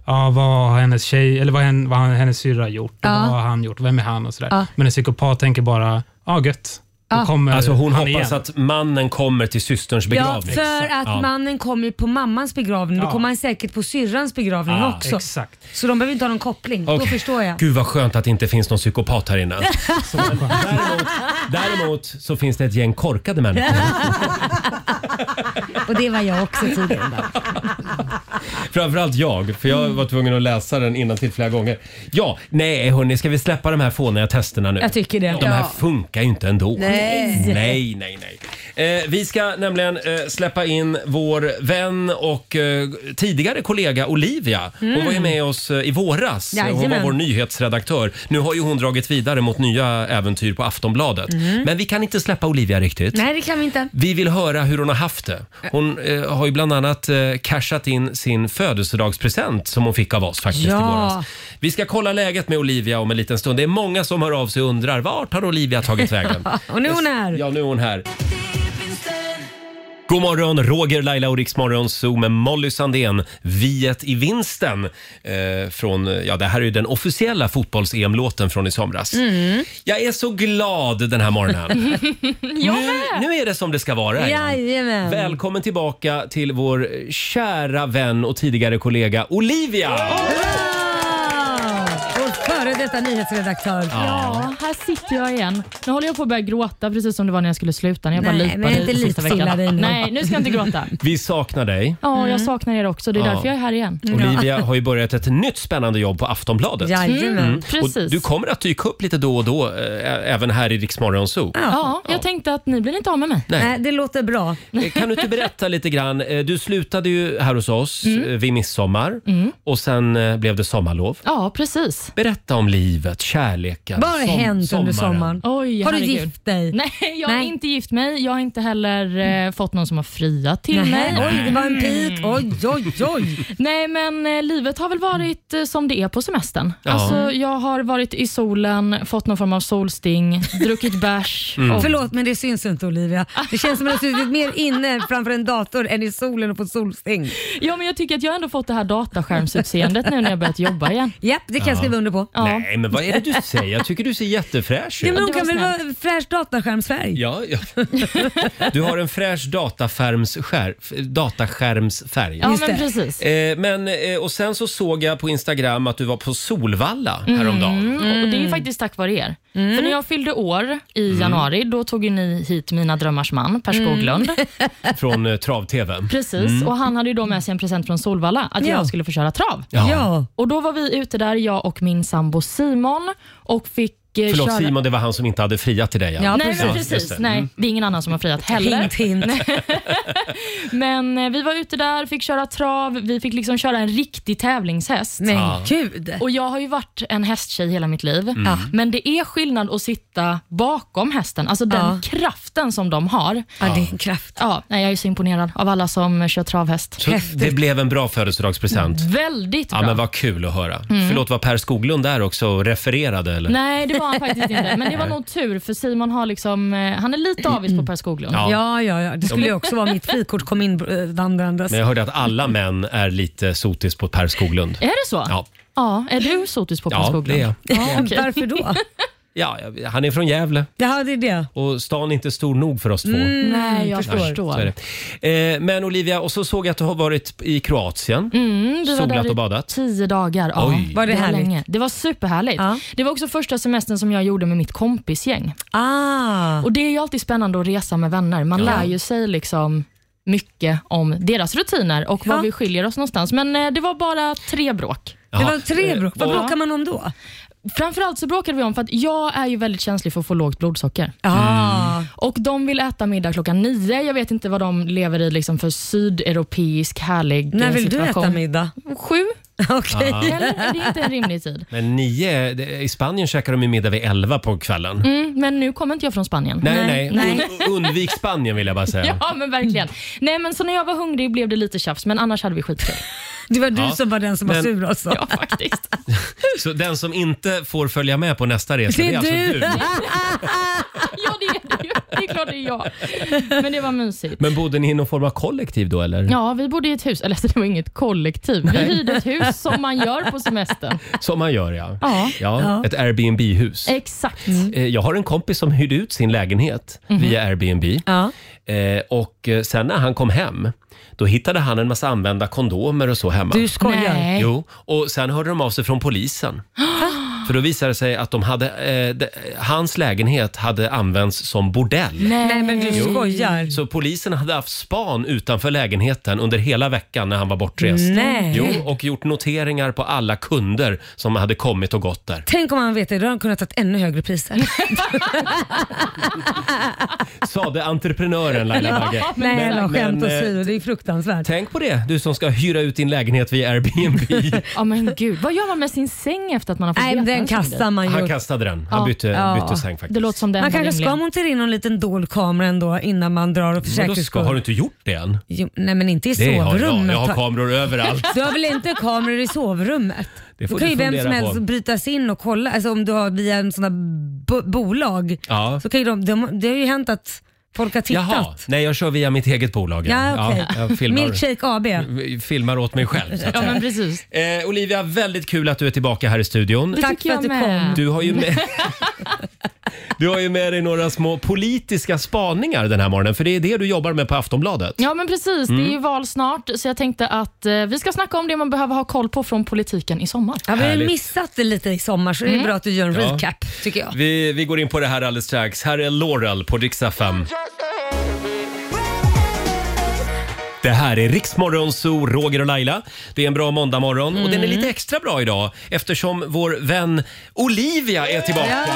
I: ja, vad har hennes tjej, eller vad, hen, vad har hennes syrra gjort? Och
B: Ja.
I: Vad har han gjort? Vem är han? Och sådär.
B: Ja.
I: Men en psykopat tänker bara, ja gött. Då
B: Ja.
I: kommer
A: Alltså hon
I: han
A: hoppas
I: igen.
A: att mannen kommer till systerns
B: Ja,
A: begravning.
B: för att
A: liksom. Ja.
B: mannen kommer ju på mammans begravning, då
I: Ja.
B: kommer han säkert på syrrans begravning
A: Ah,
B: också.
I: Exakt.
B: Så de behöver inte ha någon koppling, då
A: Okej.
B: förstår jag.
A: Gud vad skönt att det inte finns någon psykopat här inne. däremot, däremot så finns det ett gäng korkade människor.
B: Och det var jag också tidigare. där.
A: Framförallt jag, för jag var tvungen att läsa den innan till flera gånger. Ja, nej hörni, ska vi släppa de här fåniga testerna nu?
B: Jag tycker det.
A: De här
H: Ja.
A: funkar ju inte ändå.
H: Nej.
A: Nej, nej, nej. Eh, vi ska nämligen eh, släppa in vår vän och eh, tidigare kollega Olivia. Hon
B: Mm.
A: var ju med oss eh, i våras. Hon var
B: Jajamän.
A: vår nyhetsredaktör. Nu har ju hon dragit vidare mot nya äventyr på Aftonbladet.
B: Mm.
A: Men vi kan inte släppa Olivia riktigt.
B: Nej, det kan vi inte.
A: Vi vill höra hur hon har haft det. Hon eh, har ju bland annat eh, cashat in sin födelsedagspresent som hon fick av oss faktiskt i
B: Ja.
A: våras. Vi ska kolla läget med Olivia om en liten stund. Det är många som hör av sig och undrar vart har Olivia tagit vägen?
B: och nu är hon här.
A: Ja, nu är hon här. God morgon, Roger, Laila och Riksmorgon Zoo med Molly Sandén. Viet i vinsten. Eh, från, ja, det här är ju den officiella fotbolls-EM-låten från i somras.
B: Mm.
A: Jag är så glad den här morgonen.
B: jag
A: Nu, nu är det som det ska vara. igen.
B: Jajamän.
A: Välkommen tillbaka till vår kära vän och tidigare kollega Olivia!
B: Vår före detta nyhetsredaktör.
J: Ja, här sitter jag igen. Nu håller jag på att börja gråta precis som det var när jag skulle sluta. När jag bara
B: Nej,
J: lipade
B: men inte
J: i sista
B: lipsilla
J: veckan.
B: dig nu.
J: Nej, nu ska jag inte gråta.
A: Vi saknar dig.
J: Ja, jag saknar er också. Det är
A: Ja.
J: därför jag är här igen.
A: Olivia har ju börjat ett nytt spännande jobb på Aftonbladet.
J: Jajamän.
A: Och
J: Precis.
A: du kommer att dyka upp lite då och då, eh, även här i Rix Morgon Zoo.
J: Ja, jag tänkte att ni blir inte av med mig.
A: Nej. Nej,
B: det låter bra.
A: Kan du inte berätta lite grann? Eh, Du slutade ju här hos oss
J: Mm.
A: eh, vid midsommar
J: Mm.
A: och sen eh, blev det sommarlov.
J: Ja, precis.
A: Berätta om livet, kärleken,
J: Vad har hänt under sommaren? Oj,
B: Har du
J: herregud.
B: gift dig?
J: Nej, jag har
B: Nej.
J: inte gift mig. Jag har inte heller
A: Mm.
J: eh, fått någon som har friat till
B: Nähä,
J: mig. Mm.
B: oj, det var en pik. Oj, oj, oj.
J: Nej, men eh, livet har väl varit eh, som det är på semestern.
B: Ja.
J: Alltså, jag har varit i solen, fått någon form av solsting, druckit bärs. och-
B: Förlåt men det syns inte Olivia. Det känns som att du har suttit mer inne framför en dator än i solen och fått solsting.
J: Ja, men jag tycker att jag ändå fått det här dataskärmsutseendet nu när jag börjat jobba igen.
B: Japp, det kan jag skriva under på.
A: Nej, men vad är det du säger? Jag tycker du ser jättefräsch
B: Ja,
A: ut.
B: men hon kan väl vara fräsch dataskärmsfärg?
A: Ja, ja. Du har en fräsch dataskärmsskär, dataskärmsfärg.
J: Ja, Just men det. precis.
A: Eh, men, eh, och sen så såg jag på Instagram att du var på Solvalla
J: Mm.
A: häromdagen.
J: Och det är ju faktiskt tack vare er. För när jag fyllde år i
A: Mm.
J: januari, då tog ju ni hit mina drömmars man, Per
A: Mm.
J: Skoglund.
A: Från eh, Trav-TV.
J: Precis,
A: Mm.
J: och han hade ju då med sig en present från Solvalla, att
A: Ja.
J: jag skulle få köra trav.
A: Ja. Ja.
J: Och då var vi ute där, jag och min sambo Simon, och fick eh,
A: Förlåt
J: köra...
A: Simon, det var han som inte hade friat till dig.
J: Ja, nej, men
A: just
J: precis.
A: det.
J: Nej,
A: Mm.
J: det är ingen annan som har friat heller.
B: Hint, hint.
J: men eh, vi var ute där, fick köra trav, vi fick liksom köra en riktig tävlingshäst.
B: Men Ja. gud.
J: Och jag har ju varit en hästtjej hela mitt liv,
B: Mm. Ja.
J: men det är skillnad att sitta bakom hästen, alltså den
B: Ja.
J: kraften som de har.
B: Ja, det är en kraft.
J: Ja, nej, jag är så imponerad av alla som kör travhäst.
A: Så det blev en bra födelsedagspresent.
J: Väldigt Mm, bra.
A: Ja, men vad kul att höra.
J: Mm.
A: Förlåt, var Per Skoglund där också och refererade? Eller?
J: Nej, det var han faktiskt inte. Men det var
A: Nej.
J: nog tur, för Simon har liksom, eh, han är lite avis på Per Skoglund.
A: Ja.
B: Ja, ja, ja. Det skulle ju också vara mitt frikort kom in eh, vandrandes.
A: Men jag hörde att alla män är lite sotis på Per Skoglund.
J: Är det så?
A: Ja.
J: Ja, är du sotis på Per
A: Ja,
J: Skoglund?
A: det är jag.
J: Ja, okej.
B: Varför då?
A: Ja, han är från Gävle.
B: Ja, det är det.
A: Och stan är inte stor nog för oss två.
J: Mm, nej, jag förstår.
A: så är det. Eh, men Olivia, och så såg jag att du har varit i Kroatien.
J: Mm, vi var
A: Solat
J: där i
A: och badat.
J: tio dagar. Ja,
B: Mm.
A: Oj. Var det härligt?
J: länge. Det var superhärligt. Det var också första semestern som jag gjorde med mitt kompisgäng.
B: Ah.
J: Och Det är ju alltid spännande att resa med vänner. Man
B: Ja.
J: lär ju sig liksom mycket om deras rutiner och var vi skiljer oss någonstans. Men eh, det var bara tre bråk.
B: Det var tre bråk. Vad bråkar man om då?
J: Framförallt så bråkade vi om, för att jag är ju väldigt känslig för att få lågt blodsocker.
B: Ah.
A: Mm.
J: Och De vill äta middag klockan nio. Jag vet inte vad de lever i liksom för sydeuropeisk härlig eh,
B: När vill du
J: situation.
B: äta middag?
J: Sju.
B: Okej.
A: Ja.
J: Eller, det är inte en rimlig tid.
A: Men nio, det- i Spanien käkar de ju middag vid elva på kvällen.
J: Mm, men nu kommer inte jag från Spanien.
A: Nej, nej. Un- undvik Spanien vill jag bara säga.
J: Ja, men verkligen. Nej, men så när jag var hungrig blev det lite tjafs, men annars hade vi skitkul.
B: Det var
A: du Ja. som var den som var Men- sur
B: alltså.
J: Ja, faktiskt.
A: Så den som inte får följa med på nästa resa, det är, alltså du.
J: ja, det är det ju. Det är klart det är jag. Men det var mysigt.
A: Men bodde ni i någon form av kollektiv då eller?
J: Ja, vi bodde i ett hus, eller alltså, det var inget kollektiv. Vi
A: Nej.
J: hyrde ett hus som man gör på semestern.
A: Som man gör ja.
J: Ja.
A: Ja,
J: Ja.
A: ett Airbnb-hus.
J: Exakt.
A: Eh, Jag har en kompis som hyrde ut sin lägenhet
J: Mhm.
A: via Airbnb. Eh, Och eh, sen när han kom hem, då hittade han en massa använda kondomer och så hemma.
B: Du skojar. Nej.
A: Jo, och sen hörde de av sig från polisen. För då visade det sig att de hade, eh, de, hans lägenhet hade använts som bordell.
B: Nej. Nej, men du
A: Jo.
B: skojar.
A: Så polisen hade haft span utanför lägenheten under hela veckan när han var bortrest.
B: Nej.
A: Jo, och gjort noteringar på alla kunder som hade kommit och gått där.
B: Tänk om han vet det, då hade han kunnat ta ännu högre priser.
A: Sade entreprenören Laila Bagge.
B: Ja, Nej, jag skämt
A: men, eh,
B: åsido, det är fruktansvärt.
A: Tänk på det, du som ska hyra ut din lägenhet via Airbnb.
J: Ja men gud, vad gör man med sin säng efter att man har fått
B: Nej,
J: veta
B: den
J: en sån
B: kastar
J: grej?
B: man ju.
A: Han kastade den. Han
J: Ja.
A: bytte,
J: Ja.
A: bytte säng faktiskt.
J: Det låter som den
B: Man kanske ska
J: rimliga.
B: montera in någon liten dold kamera ändå innan man drar och för
A: Men då
B: säkerhets
A: ska, har du inte
B: skull.
A: gjort det än?
B: Jo, Nej men inte i
A: Det har jag.
B: sovrummet.
A: Jag har kameror överallt.
B: Du har väl inte kameror i sovrummet?
A: Det får
B: då kan
A: du
B: ju vem som
A: fundera
B: helst
A: på.
B: bryta sig in och kolla. Alltså om du har via en sån där bo- bolag.
A: Ja.
B: Så kan ju de, de, det har ju hänt att folk har tittat.
A: Jaha, nej jag kör via mitt eget bolag.
B: Ja, okej.
A: jag filmar, Mm.
B: Milkshake AB.
A: filmar åt mig själv. Så att
B: Ja,
A: säga.
B: men
J: precis.
A: Eh, Olivia, väldigt kul att du är tillbaka här i studion.
B: Det Tack tycker för att jag du med. kom.
A: Du har, ju med, du har ju med dig några små politiska spaningar den här morgonen, för det är det du jobbar med på Aftonbladet.
J: Ja men precis, det är ju
A: Mm.
J: val snart så jag tänkte att eh, vi ska snacka om det man behöver ha koll på från politiken i sommar.
B: Ja, vi har ju
A: Härligt.
B: missat det lite i sommar så det är
J: Mm.
B: bra att du gör en
A: Ja.
B: recap tycker jag.
A: Vi, vi går in på det här alldeles strax. Här är Laurel på Dixa 5. Det här är Riksmorgon Zoo, Roger och Laila. Det är en bra måndagmorgon och den är lite extra bra idag eftersom vår vän Olivia är tillbaka.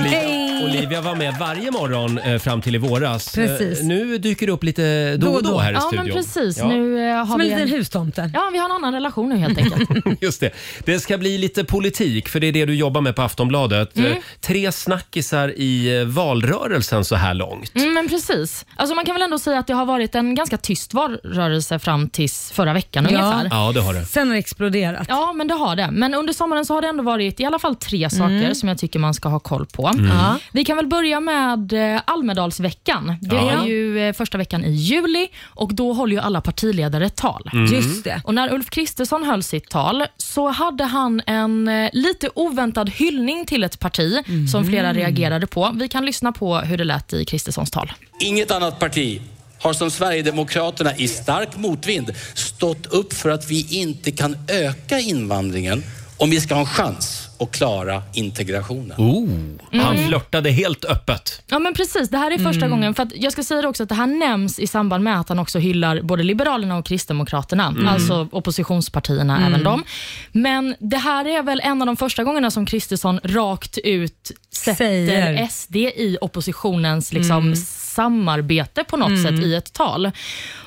A: Olivia, Olivia var med varje morgon eh, fram till i våras.
J: Precis.
A: Eh, Nu dyker det upp lite då och då här i
J: ja,
A: studion.
J: men precis.
A: Ja.
J: Nu eh, har
B: Som en
J: vi
B: liten hustomte.
J: Ja, vi har en annan relation nu helt enkelt.
A: Just det. Det ska bli lite politik, för det är det du jobbar med på Aftonbladet.
J: Mm.
A: Eh, Tre snackisar i eh, valrörelsen så här långt.
J: Mm, men precis. Alltså, man kan väl ändå säga att det har varit en ganska tyst valrörelse fram tills förra veckan
A: Ja.
J: ungefär.
A: Ja, det har det.
B: Sen har det exploderat.
J: Ja, men det har det. Men under sommaren så har det ändå varit i alla fall tre saker
B: Mm.
J: som jag tycker man ska ha koll på.
B: Mm. Ja.
J: Vi kan väl börja med eh, Almedalsveckan. Det
B: Ja.
J: är ju eh, första veckan i juli och då håller ju alla partiledare tal.
B: Mm. Just det.
J: Och när Ulf Kristersson höll sitt tal så hade han en eh, lite oväntad hyllning till ett parti
B: Mm.
J: som flera reagerade på. Vi kan lyssna på hur det lät i Kristerssons tal.
K: Inget annat parti har som Sverigedemokraterna i stark motvind stått upp för att vi inte kan öka invandringen om vi ska ha en chans att klara integrationen.
A: Oh, han
J: Mm.
A: flörtade helt öppet.
J: Ja men precis, det här är
B: Mm.
J: första gången. För att jag ska säga det också att det här nämns i samband med att han också hyllar både Liberalerna och Kristdemokraterna,
B: Mm.
J: alltså oppositionspartierna,
B: Mm.
J: även de. Men det här är väl en av de första gångerna som Kristersson rakt ut sätter
B: Säger.
J: SD i oppositionens liksom,
B: Mm.
J: samarbete på något
B: Mm.
J: sätt i ett tal.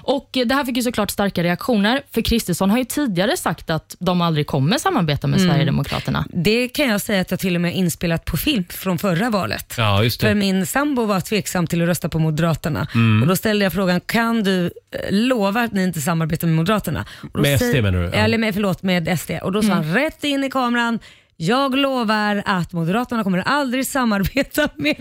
J: Och eh, Det här fick ju såklart starka reaktioner, för Kristersson har ju tidigare sagt att de aldrig kommer samarbeta med
B: Mm.
J: Sverigedemokraterna.
B: Det kan jag säga att jag till och med har inspelat på film från förra valet.
A: Ja, just
B: För
A: det.
B: min sambo var tveksam till att rösta på Moderaterna.
A: Mm.
B: Och då ställde jag frågan, kan du eh, lova att ni inte samarbetar med Moderaterna? Och då
A: Med SD
B: säger-
A: menar du? Ja. Mm.
B: Eller med, förlåt, med SD. Och då sa han rätt in i kameran, jag lovar att Moderaterna kommer aldrig samarbeta med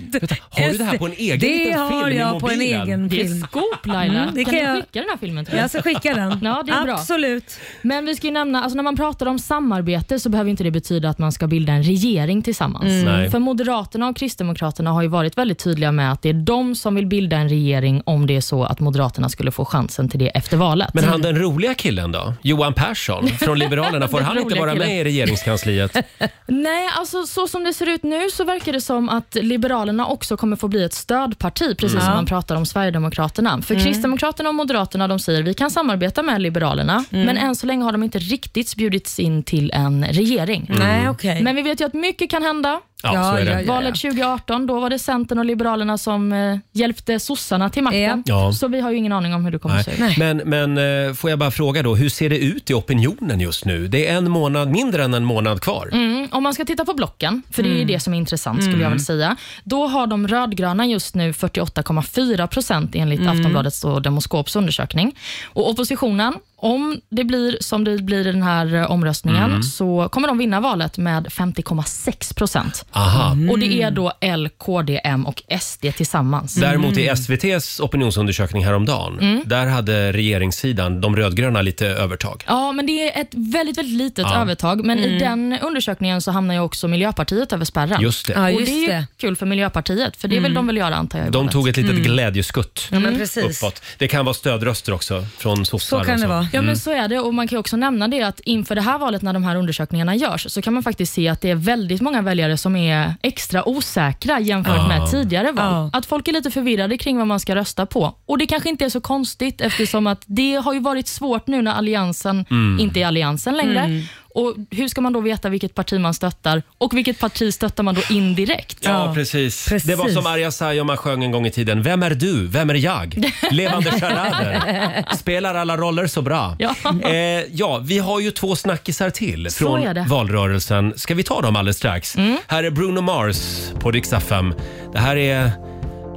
A: Har du det här
B: SD.
A: på en egen
B: det
A: liten film
B: har
A: i
B: jag på en
A: mobilen?
B: egen
J: Det är
B: film.
J: scoop Laila.
B: Mm, det
J: kan,
B: kan
J: du
B: jag-
J: skicka den här filmen till
B: Jag ska skicka den.
J: Ja, det är bra.
B: Absolut.
J: Men vi ska ju nämna, alltså när man pratar om samarbete så behöver inte det betyda att man ska bilda en regering tillsammans.
B: Mm. Nej.
J: För Moderaterna och Kristdemokraterna har ju varit väldigt tydliga med att det är de som vill bilda en regering om det är så att Moderaterna skulle få chansen till det efter valet.
A: Men han den roliga killen då? Johan Persson från Liberalerna, får
J: Den
A: han inte
J: roliga
A: vara
J: killen.
A: med i regeringskansliet?
J: Nej, alltså så som det ser ut nu så verkar det som att Liberalerna också kommer få bli ett stödparti, precis
B: Mm.
J: som
B: Ja.
J: man pratar om Sverigedemokraterna. För
B: Mm.
J: Kristdemokraterna och Moderaterna de säger vi kan samarbeta med Liberalerna,
B: Mm.
J: men än så länge har de inte riktigt bjudits in till en regering.
B: Mm. Nej, okej.
J: Men vi vet ju att mycket kan hända.
B: Ja, Ja, så är det. Mm. ja, ja, ja.
J: Valet 2018, då var det Centern och Liberalerna som eh, hjälpte sossarna till makten.
A: Ja. Ja.
J: Så vi har ju ingen aning om hur det kommer att se ut.
A: Nej. Men, men eh, får jag bara fråga då, hur ser det ut i opinionen just nu? Det är en månad, mindre än en månad kvar.
J: Mm, om man ska titta på blocken, för det är ju
A: Mm.
J: det som är intressant skulle jag
A: Mm.
J: väl säga. Då har de rödgröna just nu 48,4 procent enligt
B: Mm.
J: Aftonbladets och Demoskops undersökning. Och oppositionen, om det blir som det blir i den här eh, omröstningen,
B: Mm.
J: så kommer de vinna valet med 50,6 procent.
A: Aha.
J: Och det
A: Mm.
J: är då L, KD, M och SD tillsammans.
A: Däremot i SVTs opinionsundersökning häromdagen,
J: Mm.
A: där hade regeringssidan, de rödgröna, lite övertag.
J: Ja, men det är ett väldigt, väldigt litet
A: Ja.
J: övertag. Men i
A: Mm.
J: den undersökningen så hamnar ju också Miljöpartiet över spärren.
A: Just det. Ja,
J: och
A: just
J: det är ju
A: det. Mm.
J: kul för Miljöpartiet, för det vill de väl göra antar jag. i
A: De
J: valet.
A: tog ett litet
J: Mm.
A: glädjeskutt
J: Ja, men precis.
A: uppåt. Det kan vara stödröster också från sossar.
J: Så kan
A: och
J: det vara. Ja,
L: Mm.
J: men så är det. Och Man kan ju också nämna det att inför det här valet, när de här undersökningarna görs, så kan man faktiskt se att det är väldigt många väljare som är extra osäkra jämfört
A: Ah.
L: Ja.
J: med tidigare val.
L: Ja.
J: Att folk är lite förvirrade kring vad man ska rösta på. Och Det kanske inte är så konstigt eftersom att det har ju varit svårt nu när Alliansen
L: Mm.
J: inte är Alliansen längre.
L: Mm.
J: Och Hur ska man då veta vilket parti man stöttar och vilket parti stöttar man då indirekt?
A: Ja, precis.
J: Precis.
A: Det var som Arja Saijonmaa sjöng en gång i tiden. Vem är du? Vem är jag? Levande charader. Spelar alla roller så bra.
J: Ja.
A: Eh, ja, vi har ju två snackisar till
J: Så är det. Mm.
A: från valrörelsen. Ska vi ta dem alldeles strax? Här är Bruno Mars på Rix FM. Det här är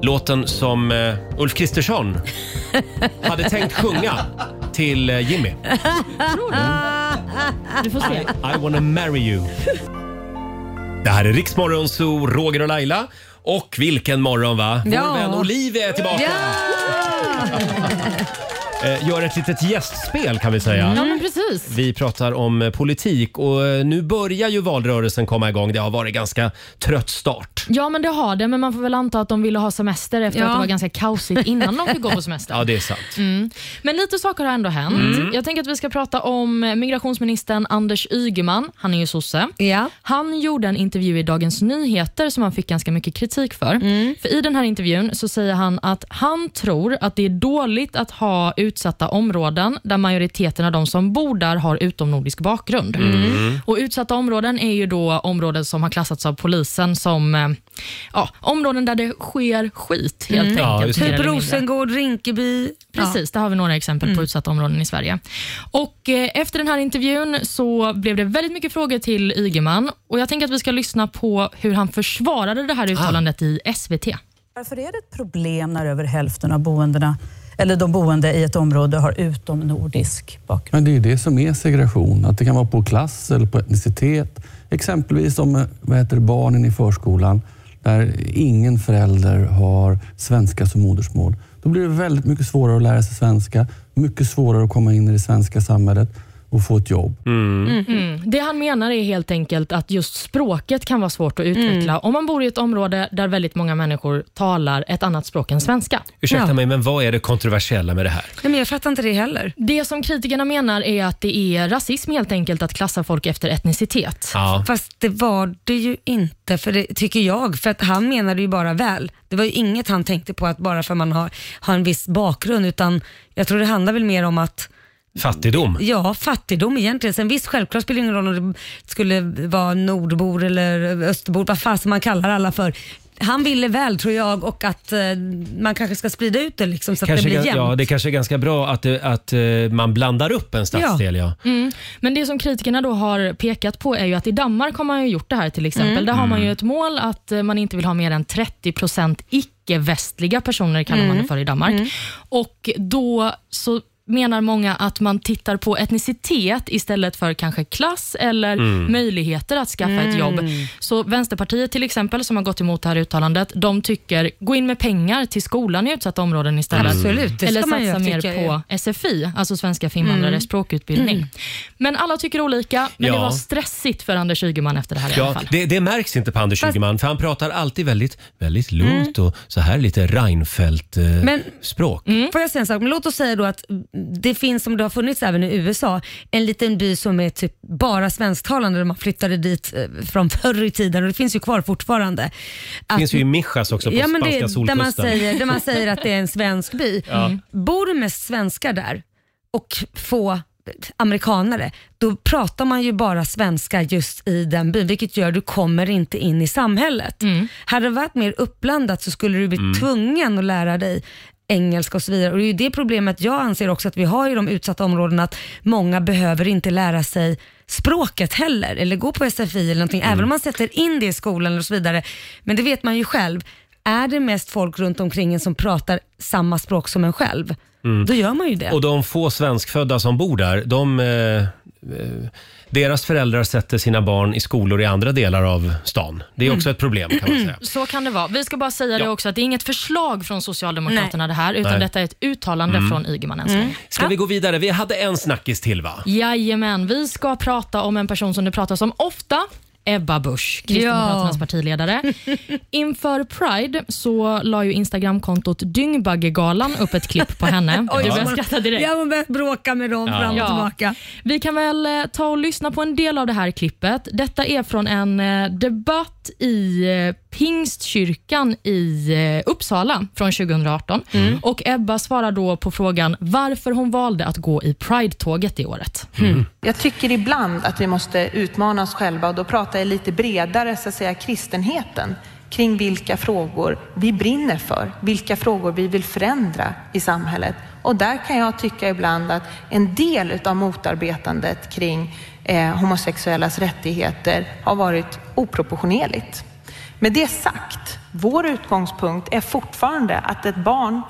A: låten som eh, Ulf Kristersson hade tänkt sjunga till eh, Jimmy.
J: Tror du? Du får se.
A: I wanna marry you. Det här är Riksmorgon, så Roger och Laila. Och vilken morgon va? Vår
L: Ja.
A: vän Olivia är tillbaka. Eh, Gör ett litet gästspel kan vi säga.
J: Ja, men precis.
A: Vi pratar om eh, politik och eh, nu börjar ju valrörelsen komma igång. Det har varit ganska trött start.
J: Ja, men det har det. Men man får väl anta att de ville ha semester efter
A: Ja.
J: att det var ganska kaosigt innan de fick gå på semester.
A: Ja, det är sant.
J: Mm. Men lite saker har ändå hänt.
A: Mm.
J: Jag tänker att vi ska prata om migrationsministern Anders Ygeman. Han är ju sosse. Han gjorde en intervju i Dagens Nyheter som han fick ganska mycket kritik för. För I den här intervjun så säger han att han tror att det är dåligt att ha utsatta områden där majoriteten av de som bor där har utomnordisk bakgrund.
L: Mm.
J: Och Utsatta områden är ju då områden som har klassats av polisen som eh, ja, områden där det sker skit helt
B: Mm. Ja,
J: enkelt.
B: just det.
J: mer
B: Typ
J: eller mindre.
B: Rosengård, Rinkeby.
J: Precis, där har vi några exempel på utsatta områden i Sverige. Och eh, Efter den här intervjun så blev det väldigt mycket frågor till Ygeman och jag tänker att vi ska lyssna på hur han försvarade det här uttalandet i SVT.
M: Varför är det ett problem när över hälften av boendena, eller de boende i ett område har utomnordisk
N: Men det är ju det som är segregation, att det kan vara på klass eller på etnicitet. Exempelvis om vad heter det, barnen i förskolan där ingen förälder har svenska som modersmål. Då blir det väldigt mycket svårare att lära sig svenska, mycket svårare att komma in i det svenska samhället och få ett jobb.
J: Mm. Det han menar är helt enkelt att just språket kan vara svårt att utveckla om man bor i ett område där väldigt många människor talar ett annat språk än svenska.
A: Ursäkta mig, men vad är det kontroversiella med det här?
J: Nej, men jag fattar inte det heller. Det som kritikerna menar är att det är rasism helt enkelt att klassa folk efter etnicitet.
A: Ja.
B: Fast det var det ju inte, för det, tycker jag. För att han menade ju bara väl. Det var ju inget han tänkte på att bara för man har, har en viss bakgrund, utan jag tror det handlar väl mer om att
A: Fattigdom?
B: Ja, fattigdom egentligen. Sen visst, självklart spelar det ingen roll om det skulle vara nordbor eller österbor, vad fasen man kallar alla för. Han ville väl tror jag och att eh, man kanske ska sprida ut det liksom, så
A: Kanske,
B: att det
A: ga-
B: blir jämnt.
A: ja, det kanske är ganska bra att, det- att eh, man blandar upp en stadsdel. Ja.
J: Mm. Men det som kritikerna då har pekat på är ju att i Danmark har man ju gjort det här till exempel.
L: Mm.
J: Där har man ju
L: Mm.
J: ett mål att eh, man inte vill ha mer än 30 icke-västliga personer kallar man
L: Mm.
J: det för i Danmark.
L: Mm.
J: Och då så menar många att man tittar på etnicitet istället för kanske klass eller
L: Mm.
J: möjligheter att skaffa ett jobb.
L: Mm.
J: Så Vänsterpartiet till exempel, som har gått emot det här uttalandet, de tycker gå in med pengar till skolan i utsatta områden
A: Mm.
J: istället.
B: Absolut, det
J: eller
B: ska man ju
J: satsa mer
B: tycka,
J: på
B: ja.
J: SFI, alltså svenska för invandrare,
B: Mm.
J: språkutbildning.
B: Mm.
J: Men alla tycker olika, men
A: Ja.
J: det var stressigt för Anders Ygeman efter det här i alla
A: Ja,
J: fall.
A: det, det märks inte på Anders Ygeman för han pratar alltid väldigt, väldigt lugnt
B: Mm.
A: och så här lite
B: Men-
A: Reinfeldt-språk.
B: Får jag säga en sak? Men låt oss säga då att det finns, som det har funnits även i USA, en liten by som är typ bara svensktalande där man flyttade dit eh, från förr i tiden och det finns ju kvar fortfarande.
A: det finns ju i Mijas också på
B: Mm. ja, men
A: spanska
B: det, är- där,
A: solkusten.
B: man säger, där man säger att det är en svensk by.
A: Ja. Mm.
B: Bor det mest svenskar där och få amerikanare, då pratar man ju bara svenska just i den byn, vilket gör att du kommer inte in i samhället. Hade det varit mer uppblandat så skulle du bli
L: Mm.
B: tvungen att lära dig engelska och så vidare. Och Det är ju det problemet jag anser också att vi har i de utsatta områdena, att många behöver inte lära sig språket heller, eller gå på SFI eller någonting,
A: Mm.
B: även om man sätter in det i skolan och så vidare. Men det vet man ju själv, är det mest folk runt omkring en som pratar samma språk som en själv,
A: Mm.
B: då gör man ju det.
A: Och de få svenskfödda som bor där, de, eh, eh, deras föräldrar sätter sina barn i skolor i andra delar av stan. Det är också
B: Mm.
A: ett problem kan man säga.
J: Så kan det vara. Vi ska bara säga det också att det är inget förslag från Socialdemokraterna det här, utan
A: Nej.
J: detta är ett uttalande
A: Mm.
J: från Ygeman än så länge.
A: Ska vi gå vidare? Vi hade en snackis till va?
J: Jajamän, vi ska prata om en person som det pratas om ofta. Ebba Busch, Kristdemokraternas
B: Ja.
J: partiledare. Inför Pride så la ju Instagramkontot Dyngbaggegalan upp ett klipp på henne.
B: Oj,
J: du börjar
B: man-
J: skratta direkt.
B: Ja, man börjar bråka med dem fram och tillbaka.
J: Vi kan väl eh, ta och lyssna på en del av det här klippet. Detta är från en eh, debatt i eh, Pingstkyrkan i eh, Uppsala från 2018.
A: Mm.
J: Och Ebba svarar då på frågan varför hon valde att gå i Pride-tåget det året.
L: Mm. Jag tycker ibland att vi måste utmana oss själva och då pratar jag lite bredare, så att säga, kristenheten kring vilka frågor vi brinner för, vilka frågor vi vill förändra i samhället. Och där kan jag tycka ibland att en del utav motarbetandet kring eh, homosexuellas rättigheter har varit oproportionerligt. Med det sagt, vår utgångspunkt är fortfarande att ett barn,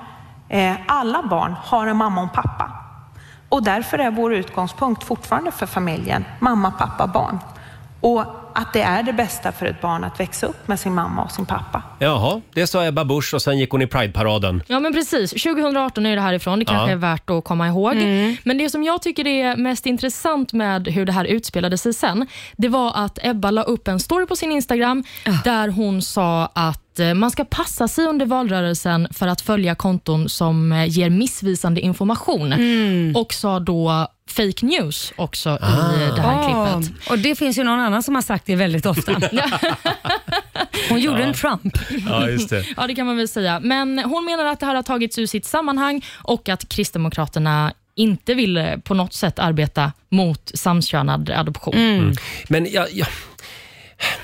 L: eh, alla barn har en mamma och en pappa. Och därför är vår utgångspunkt fortfarande för familjen mamma, pappa, barn. Och att det är det bästa för ett barn att växa upp med sin mamma och sin pappa.
A: Jaha, det sa Ebba Busch och sen gick hon i Pride-paraden.
J: Ja, men precis. 2018 är det härifrån. Det kanske
A: Ja.
J: är värt att komma ihåg.
L: Mm.
J: Men det som jag tycker är mest intressant med hur det här utspelade sig sen, det var att Ebba la upp en story på sin Instagram
L: Ah.
J: där hon sa att eh, man ska passa sig under valrörelsen för att följa konton som eh, ger missvisande information.
L: Mm.
B: Mm.
J: Och sa då fake news också i det här
B: Ah.
J: klippet.
B: Och det finns ju någon annan som har sagt det väldigt ofta. Hon gjorde
J: Ja.
B: en Trump.
A: Ja, just det.
J: Ja, det kan man väl säga. Men hon menar att det här har tagits ur sitt sammanhang och att Kristdemokraterna inte vill eh, på något sätt arbeta mot samkönad adoption.
A: Mm. Men jag, jag,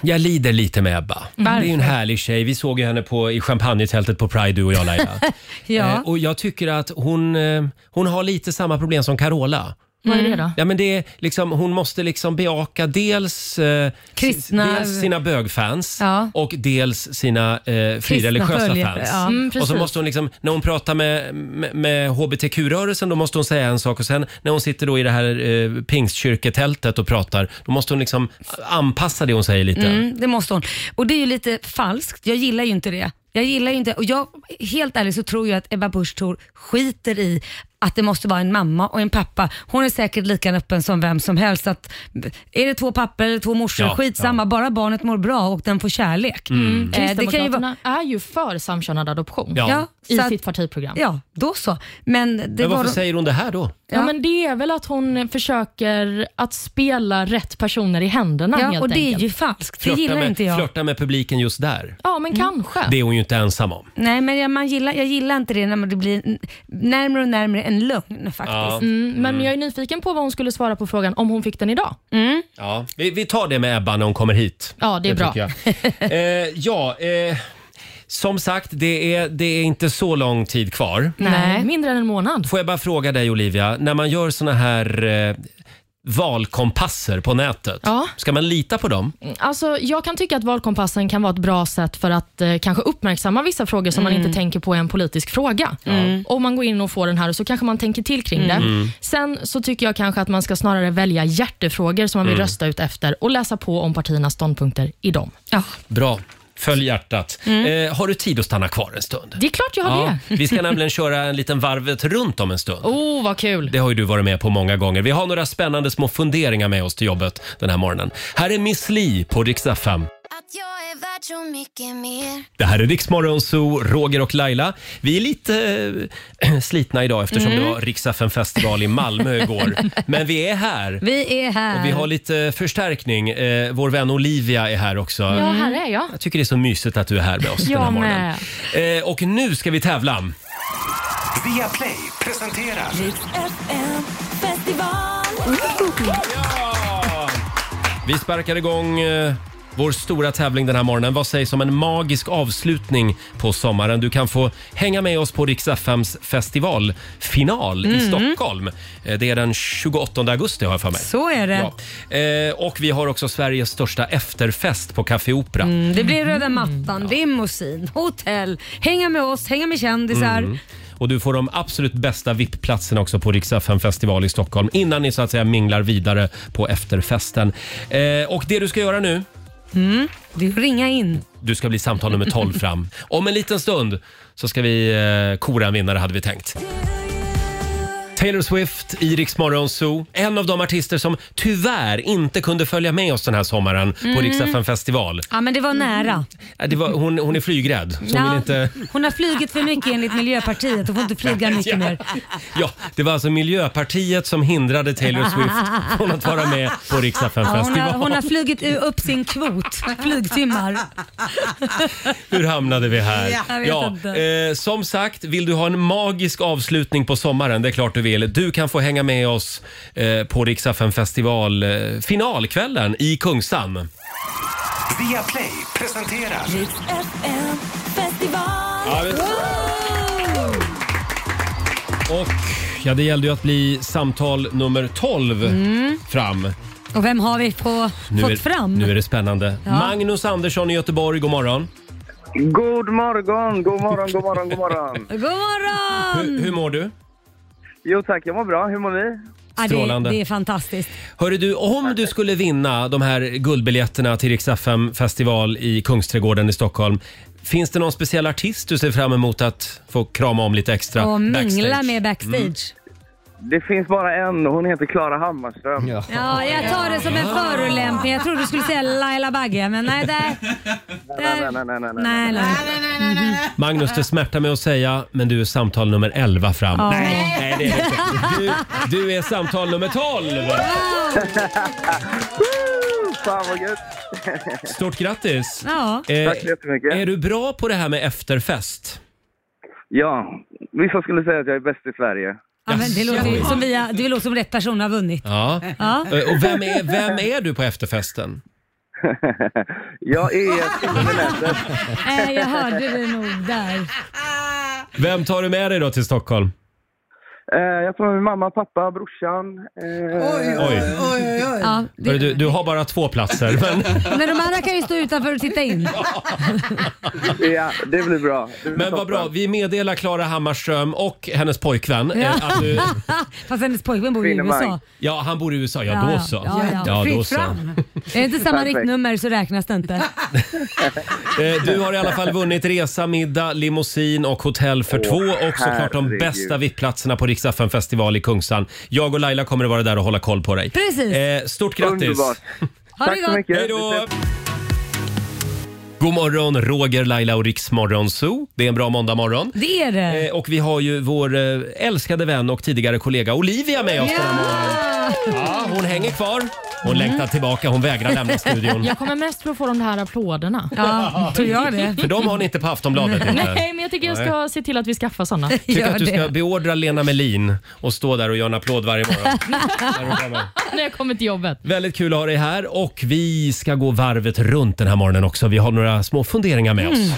A: jag lider lite med Ebba.
J: Varför?
A: Det är ju en härlig tjej. Vi såg ju henne på, i champagnetältet på Pride, du och jag Laila. Eh,
B: Ja.
A: och jag tycker att hon, eh, hon har lite samma problem som Carola.
J: Vad är det då?
A: Ja, men det är liksom, hon måste liksom bejaka dels, eh,
B: Kristna-
A: s- dels sina bögfans
B: Ja.
A: och dels sina eh, frireligiösa
B: följare,
A: fans.
B: ja. Mm,
A: och så
B: precis.
A: måste hon liksom, när hon pratar med, med, med hbtq-rörelsen, då måste hon säga en sak och sen när hon sitter då i det här eh, pingstkyrketältet och pratar, då måste hon liksom anpassa det hon säger lite.
B: Mm, det måste hon. Och det är ju lite falskt. Jag gillar ju inte det. Jag gillar ju inte, och jag, helt ärligt så tror jag att Ebba Busch Thor skiter i att det måste vara en mamma och en pappa. Hon är säkert lika öppen som vem som helst. Att, är det två pappor eller två morsor,
J: Ja,
B: skitsamma. Bara barnet mår bra och den får kärlek.
J: Mm.
B: Eh, det kan ju vara,
J: Kristdemokraterna är ju för samkönad adoption
A: Ja. Ja,
J: i
B: så att-
J: sitt partiprogram.
B: ja, då så. Men, det
A: Men varför
B: var,
A: säger hon det här då?
J: Ja. men det är väl att hon försöker att spela rätt personer i händerna
B: Ja,
J: helt
B: och det är
J: enkelt.
B: ju falskt.
A: med, flörta med publiken just där.
J: Ja, men kanske.
A: Det är hon ju inte ensam om.
B: Nej, men jag, man gillar, jag gillar inte det när man det blir n- närmare och närmare en lögn faktiskt.
A: Ja.
J: Mm, men
A: Mm.
J: jag är nyfiken på vad hon skulle svara på frågan om hon fick den idag.
A: Ja, vi, vi tar det med Ebba när hon kommer hit.
J: Ja, det är bra.
A: tycker jag. eh, ja, eh, som sagt, det är, det är inte så lång tid kvar.
J: Nej, Eh, mindre än en månad.
A: Får jag bara fråga dig Olivia, när man gör såna här eh, valkompasser på nätet,
J: Ja.
A: ska man lita på dem?
J: Alltså, jag kan tycka att valkompassen kan vara ett bra sätt för att eh, kanske uppmärksamma vissa frågor som man
O: Mm.
J: inte tänker på är en politisk fråga.
O: Mm.
J: Om man går in och får den här och så kanske man tänker till kring
O: Mm.
J: det.
O: Mm.
J: Sen så tycker jag kanske att man ska snarare välja hjärtefrågor som man vill
A: Mm.
J: rösta ut efter och läsa på om partiernas ståndpunkter i dem.
A: Bra. Följ hjärtat.
J: Mm.
A: Eh, har du tid att stanna kvar en stund?
J: Det är klart jag har det.
A: vi ska nämligen köra en liten varvet runt om en stund.
J: Oh, vad kul.
A: Det har ju du varit med på många gånger. Vi har några spännande små funderingar med oss till jobbet den här morgonen. Här är Miss Li på Rix FM. Det här är Riksmorgon Zoo, Roger och Laila. Vi är lite eh, slitna idag eftersom
B: Mm.
A: det var Rix FM festival i Malmö igår. Men vi är här.
B: Vi är här.
A: Och vi har lite förstärkning. Eh, vår vän Olivia är här också.
J: Ja, här är jag.
A: Jag tycker det är så mysigt att du är här med oss den här
J: Jag
A: morgonen.
J: med.
A: Eh, och nu ska vi tävla.
C: Via Play presenterar...
A: Vi sparkar igång eh, vår stora tävling den här morgonen. Vad sägs om en magisk avslutning på sommaren? Du kan få hänga med oss på Rix FMs festivalfinal i
B: Mm.
A: Stockholm. Eh, Det är den 28 augusti har jag för mig.
B: Så är det.
A: Ja. Eh, och vi har också Sveriges största efterfest på Café Opera.
B: Mm, det blir röda mattan, limousin, hotell, hänga med oss, hänga med kändisar.
A: Mm. Och du får de absolut bästa VIP-platserna också på Rix FM festival i Stockholm innan ni så att säga minglar vidare på efterfesten. Eh, och det du ska göra nu,
B: Mm. Det är att ringa in.
A: du ska bli samtal nummer 12 fram. Om en liten stund så ska vi eh, kora en vinnare hade vi tänkt. Taylor Swift i Rix Morgon Zoo. En av de artister som tyvärr inte kunde följa med oss den här sommaren på
B: Mm.
A: Rix FM festival.
B: Ja men det var nära.
A: Äh, Det var, hon, hon är flygrädd. Så hon
B: Ja.
A: vill inte...
B: Hon har flugit för mycket enligt Miljöpartiet och får inte flyga mycket mer.
A: Ja, det var alltså Miljöpartiet som hindrade Taylor Swift från att vara med på Rix FM
B: Ja, hon, har,
A: festival.
B: hon har flugit u- upp sin kvot flygtimmar.
A: Hur hamnade vi
B: Ja,
A: här?
B: jag vet inte.
A: eh, som sagt, vill du ha en magisk avslutning på sommaren? Det är klart du vill. Du kan få hänga med oss eh, på Rix FM festival eh, finalkvällen i Kungsan.
C: Via Play presenterar...
A: Ja, visst. Och ja, det gällde ju att bli samtal nummer 12
B: Mm.
A: fram.
B: Och vem har vi på,
A: Nu
B: fått
A: är,
B: fram?
A: nu är det spännande.
B: Ja.
A: Magnus Andersson i Göteborg, god morgon.
O: God morgon, god morgon, god morgon, god morgon.
B: God morgon!
A: Hur, hur mår du?
O: Jo tack, jag mår bra. Hur mår ni?
B: Ja, det,
A: Strålande.
B: det är fantastiskt.
A: Hörru du, om du skulle vinna de här guldbiljetterna till Rix FM festival i Kungsträdgården i Stockholm. Finns det någon speciell artist du ser fram emot att få krama om lite extra?
B: Och mingla
A: backstage?
B: med backstage.
A: Mm.
O: Det finns bara en och hon heter Klara Hammarström.
B: Ja, jag tar det som en förolämpning. Jag trodde du skulle säga Laila Bagge, men nej, där,
O: Nej, nej, nej, nej, nej.
B: nej, nej.
A: Magnus, det smärtar mig att säga, men du är samtal nummer 11 fram.
B: Ja.
A: nej det är det inte. Du, du är samtal nummer 12!
O: Woo! Fan vad gött.
A: Stort grattis! Eh,
B: Ja.
O: Tack så jättemycket.
A: Är du bra på det här med efterfest?
O: Ja, vissa skulle säga att jag är bäst i Sverige.
B: Ja, men det låter ju som, vi, har- det låter som rätt person har vunnit.
A: Ja.
B: Ja.
A: Eh, Och vem är, vem är du på efterfesten?
O: Jag är Tinderländer.
B: Nej, jag hörde det nog där.
A: Vem tar du med dig då till Stockholm?
O: Eh, Jag tar med min mamma, pappa, brorsan. eh, Oj,
A: oj,
B: oj, oj. Ja, det-
A: Hörru, Du, du har bara två platser. Men...
B: Men de andra kan ju stå utanför och titta in.
O: Ja, det blir bra.
A: Men vad bra, vi meddelar Klara Hammarström och hennes pojkvän eh,
B: Ja.
A: att du...
B: Fast hennes pojkvän bor ju i USA.
A: Ja, han bor i USA. Ja,
B: Ja,
A: då
B: ja.
A: så.
B: Ja, ja.
A: då
B: Fritt
A: så.
B: fram. Är det inte samma
A: Perfekt.
B: riktnummer så räknas det inte.
A: Eh, Du har i alla fall vunnit resa, middag, limousin och hotell för
O: Åh,
A: två och såklart de
O: herregud.
A: bästa VIP-platserna på Rix FM festival i Kungsan. Jag och Laila kommer att vara där och hålla koll på dig.
B: Precis.
A: Eh, Stort grattis!
O: Underbart.
B: Ha det
O: Tack så
B: gott.
O: mycket.
B: Hej då.
O: Vi ses.
A: God morgon, Roger, Laila och Rix Morgon Zoo. Det är en bra måndagmorgon.
B: Det är det.
A: Eh, Och vi har ju vår eh, älskade vän och tidigare kollega Olivia med oss den här morgonen. Ja, hon hänger kvar. Hon längtar tillbaka, hon vägrar lämna studion.
J: Jag kommer mest för att få de här applåderna.
A: För de har ni inte på Aftonbladet inte.
J: Nej, men jag tycker jag ska se till att vi skaffar såna.
A: Jag tycker att du ska beordra Lena Melin och stå där och göra en applåd varje morgon.
J: När jag kommer till jobbet.
A: Väldigt kul att ha dig här och vi ska gå varvet runt den här morgonen också. Vi har några små funderingar med
J: Mm.
A: oss.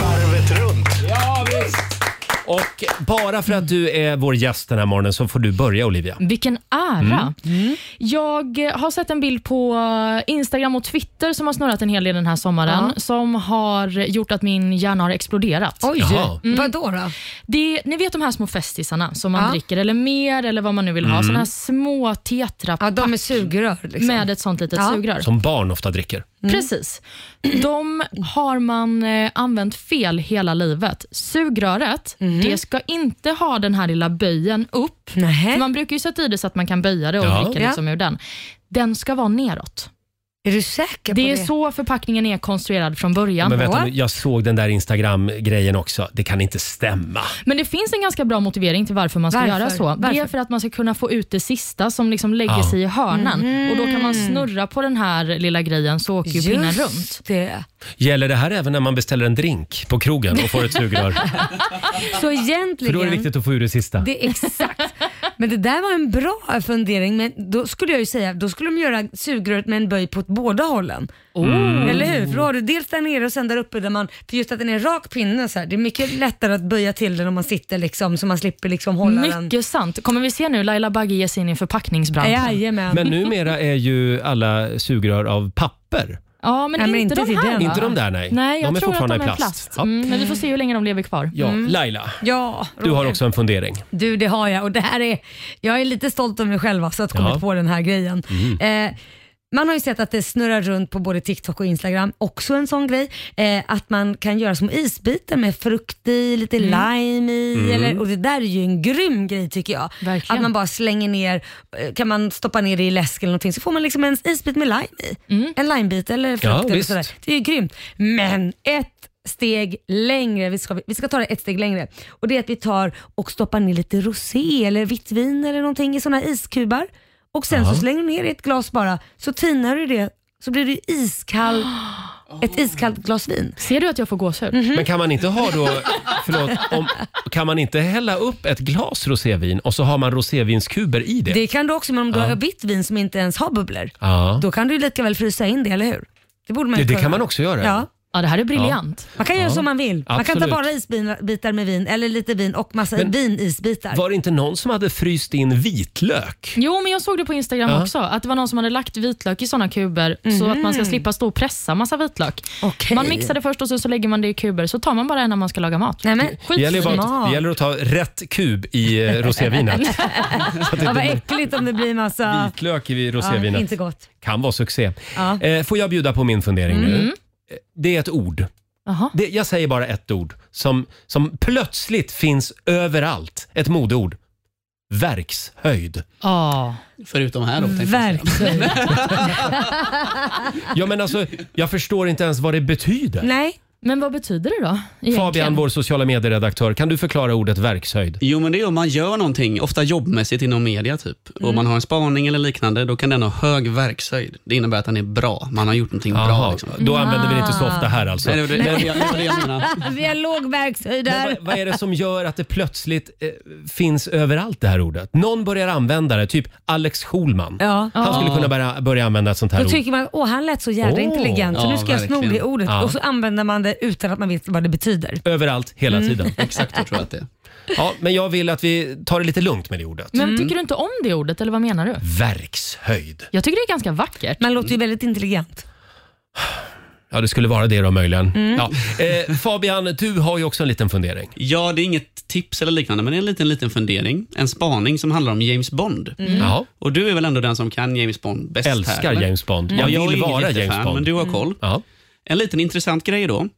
C: Varvet runt.
A: Ja, visst. Och bara för att du är vår gäst den här morgonen så får du börja Olivia.
J: Vilken ära!
A: Mm.
J: Jag eh, har sett en bild på eh, Instagram och Twitter som har snurrat en hel del den här sommaren
B: Ja.
J: som har gjort att min hjärna har exploderat.
B: Oj, Jaha. vadå då?
J: Det, ni vet de här små festisarna som man
B: Ja.
J: dricker eller mer eller vad man nu vill ha.
A: Mm.
J: Såna här små tetrapack. Ja, de är sugrör. liksom. Med ett sånt litet sugrör.
A: Som barn ofta dricker.
J: Precis. De har man eh, använt fel hela livet. Sugröret det ska inte ha den här lilla böjen upp. För man brukar ju sätta i det så att man kan böja det och
B: Ja.
J: dricka liksom
B: Ja.
J: ur den. Den ska vara neråt.
B: Är du säker på
J: Det är
B: det?
J: så förpackningen är konstruerad från början.
A: Men vänta, nu, jag såg den där Instagram-grejen också. Det kan inte stämma.
J: Men det finns en ganska bra motivering till varför man ska
B: Varför?
J: göra så. Det är
B: Varför?
J: för att man ska kunna få ut det sista som liksom lägger
A: Ja.
J: sig i hörnan.
B: Mhm.
J: Och Då kan man snurra på den här lilla grejen så åker ju
B: Just
J: pinnen runt.
B: det.
A: Gäller det här även när man beställer en drink på krogen och får ett sugrör?
B: Så
A: För
B: egentligen...
A: då är det viktigt att få ur det sista.
B: Det är exakt. Men det där var en bra fundering. Men då skulle jag ju säga, då skulle de göra sugröret med en böj på båda hållen.
J: Mm.
B: Eller hur? För då har du dels där nere och sen där uppe där man, för just att den är rak pinne så här, det är mycket lättare att böja till den om man sitter liksom så man slipper liksom hålla den.
J: Mycket sant. Kommer vi se nu Laila Bagge ge sig in i förpackningsbranschen?
B: Jajamän.
A: Men numera är ju alla sugrör av papper.
J: Ja, men,
A: Nej, men
J: inte,
A: inte
J: de
A: till
J: här.
A: den,
J: va?
A: Inte de där, nej.
J: nej jag
A: De är
J: tror
A: fortfarande
J: att de är
A: i plast. Ja.
J: Mm, men vi får se hur länge de lever kvar.
A: Ja,
J: Mm.
A: Laila,
B: Ja,
A: du har också en fundering.
B: Du, det har jag. Och det här är, jag är lite stolt över mig själv alltså, att komma
A: Ja.
B: på den här grejen.
A: Mm.
B: Eh, Man har ju sett att det snurrar runt på både TikTok och Instagram, också en sån grej, eh, att man kan göra små isbitar med frukt i, lite lime i.
J: Mm.
B: Eller, och det där är ju en grym grej tycker jag. Att man bara slänger ner, eh, kan man stoppa ner det i läsk eller någonting så får man liksom en isbit med lime i.
A: Mm.
B: En limebit eller frukt
D: Ja,
B: eller
D: visst.
B: sådär. Det är ju grymt. Men ett steg längre, vi ska, vi ska ta det ett steg längre. Och Det är att vi tar och stoppar ner lite rosé eller vitt vin eller någonting i sådana iskubar. Och sen
D: Ja.
B: så slänger du ner det i ett glas bara, så tinar du det, så blir det ju iskall, ett iskallt glas vin.
J: Ser du att jag får gåshud?
A: Men kan man inte ha då, förlåt, om, kan man inte hälla upp ett glas rosévin och så har man rosévinskuber i det?
B: Det kan du också, men om du
A: Ja.
B: har vitt vin som inte ens har bubblor,
A: Ja.
B: då kan du ju lika väl frysa in det, eller hur? Det borde man ju
A: Det- det
B: kunna.
A: kan man också göra.
B: Ja.
J: ja, det här är
A: briljant.
B: Man kan göra
A: Ja.
B: som man vill. Man kan ta
A: Absolut.
B: bara isbitar med vin, eller lite vin och massa
A: Men-
B: vinisbitar.
A: Var det inte någon som hade fryst in vitlök?
J: Jo, men jag såg det på Instagram
A: Ja.
J: också, att det var någon som hade lagt vitlök i såna kuber
A: Mhm.
J: så att man ska slippa stå och pressa massa vitlök. Man mixar det först och så, så lägger man det i kuber, så tar man bara en när man ska laga mat.
B: Nej, men,
A: Det gäller, ju bara att, det gäller att ta rätt kub i eh, rosévinet. att det
B: ja, vad
A: inte-
B: äckligt om det blir massa...
A: Vitlök i
B: Ja,
A: rosévinet
B: inte gott.
A: kan vara succé.
B: Ja.
A: Eh, Får jag bjuda på min fundering nu?
B: Mm.
A: Eh, Det är ett ord. Det, jag säger bara ett ord som, som plötsligt finns överallt. Ett modeord. Verkshöjd.
J: Ja.
E: Förutom här då. tänkte jag säga.
B: Verkligen.
A: Ja, men alltså, jag förstår inte ens vad det betyder.
B: Nej.
J: Men vad betyder det då? Egentligen?
A: Fabian, vår sociala medieredaktör, kan du förklara ordet verkshöjd?
E: Jo, men det är om man gör någonting, ofta jobbmässigt inom media typ, och
A: Mm.
E: man har en spaning eller liknande, då kan den ha hög verkshöjd. Det innebär att den är bra. Man har gjort någonting bra. Liksom.
A: då använder vi Mm. det inte så ofta här, alltså.
E: Nej, det var det, det, var det, jag- det, var det jag menade.
B: Vi har låg verkshöjd
A: Vad,
B: där.
A: vad är det som gör att det plötsligt eh, finns överallt det här ordet? Någon börjar använda det, typ Alex Schulman.
B: Ja.
A: Han skulle
B: Ja.
A: kunna börja, börja använda ett sånt här
B: Då
A: ord.
B: tycker man åh han lät så jävla
A: Åh.
B: intelligent så
A: Ja,
B: nu ska jag sno
A: verkligen.
B: det ordet
A: Ja.
B: och så använder man det utan att man vet vad det betyder.
A: Överallt, hela
B: Mm.
A: tiden.
E: Exakt, jag tror att det
A: Ja, men jag vill att vi tar det lite lugnt med det ordet.
J: Men tycker du inte om det ordet, eller vad menar du?
A: Verkshöjd.
J: Jag tycker det är ganska vackert.
B: Man låter ju väldigt intelligent.
A: Ja, det skulle vara det då möjligen.
B: Mm.
A: Ja. Eh, Fabian, du har ju också en liten fundering.
E: Ja, det är inget tips eller liknande, men det är en liten, liten fundering. En spaning som handlar om James Bond.
A: Mm. Ja.
E: Och du är väl ändå den som kan James Bond bäst?
A: Älskar
E: här, eller? Mm.
A: James Bond. Jag
E: är
A: vill
E: ingen
A: vara
E: jättefan,
A: James Bond.
E: Men du har koll. En liten intressant grej då.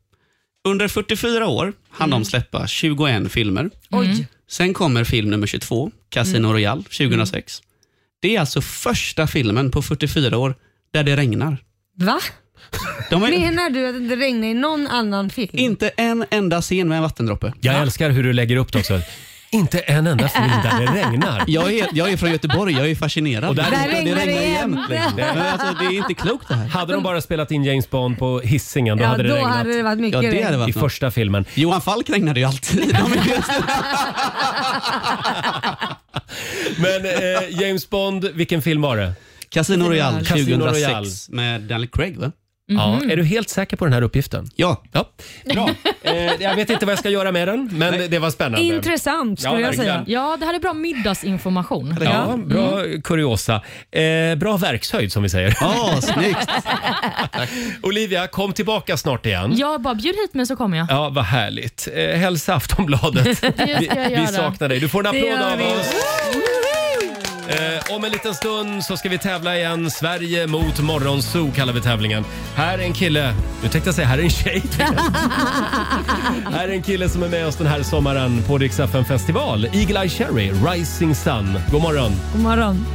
E: Under 44 år hann de släppa 21 filmer.
B: Oj.
E: Sen kommer film nummer 22, Casino
B: Mm.
E: Royale 2006. Det är alltså första filmen på 44 år där det regnar.
B: Va?
E: De har
B: Menar du att det regnar i någon annan film?
E: inte en enda scen med en vattendroppe.
A: Jag älskar hur du lägger upp det också. Inte en enda film där det regnar.
E: Jag är, jag är från Göteborg, jag är fascinerad.
A: Och där- Där
E: det
A: regnar det
E: regnar
A: igen.
E: egentligen. Det, men alltså, det är inte klokt det här.
A: Hade de bara spelat in James Bond på Hisingen då
E: Ja,
A: hade det
E: då
A: regnat.
E: hade det varit mycket Ja, det regn. hade varit
A: I
E: något.
A: första filmen.
E: Johan Falk regnade ju alltid. De är ju-
A: Men eh, James Bond, vilken film var det?
E: Mhm. Casino Royale
A: Casino
E: 2006
A: Royale.
E: med Daniel Craig va?
A: Ja, är du helt säker på den här uppgiften?
E: Ja.
A: ja. Bra. Eh, jag vet inte vad jag ska göra med den, men det var spännande.
J: Intressant
A: skulle Ja, jag verkligen. säga.
J: Ja, det här är bra middagsinformation.
A: Ja, Mm. bra kuriosa. Eh, bra verkshöjd som vi säger.
E: Ja, snyggt.
A: Olivia, kom tillbaka snart igen.
J: Ja, bara bjud hit mig så kommer jag.
A: Ja, vad härligt. Eh, hälsa Aftonbladet.
J: Det ska jag
A: vi, vi
J: göra.
A: saknar dig. Du får en
J: Det
A: applåd
J: gör
A: av
J: vi.
A: oss. Eh, om en liten stund så ska vi tävla igen. Sverige mot Morgonzoo kallar vi tävlingen. Här är en kille, nu tänkte jag säga här är en tjej. här är en kille som är med oss den här sommaren på Rix FM festival. Eagle Eye Cherry, Rising Sun. God morgon.
B: God morgon.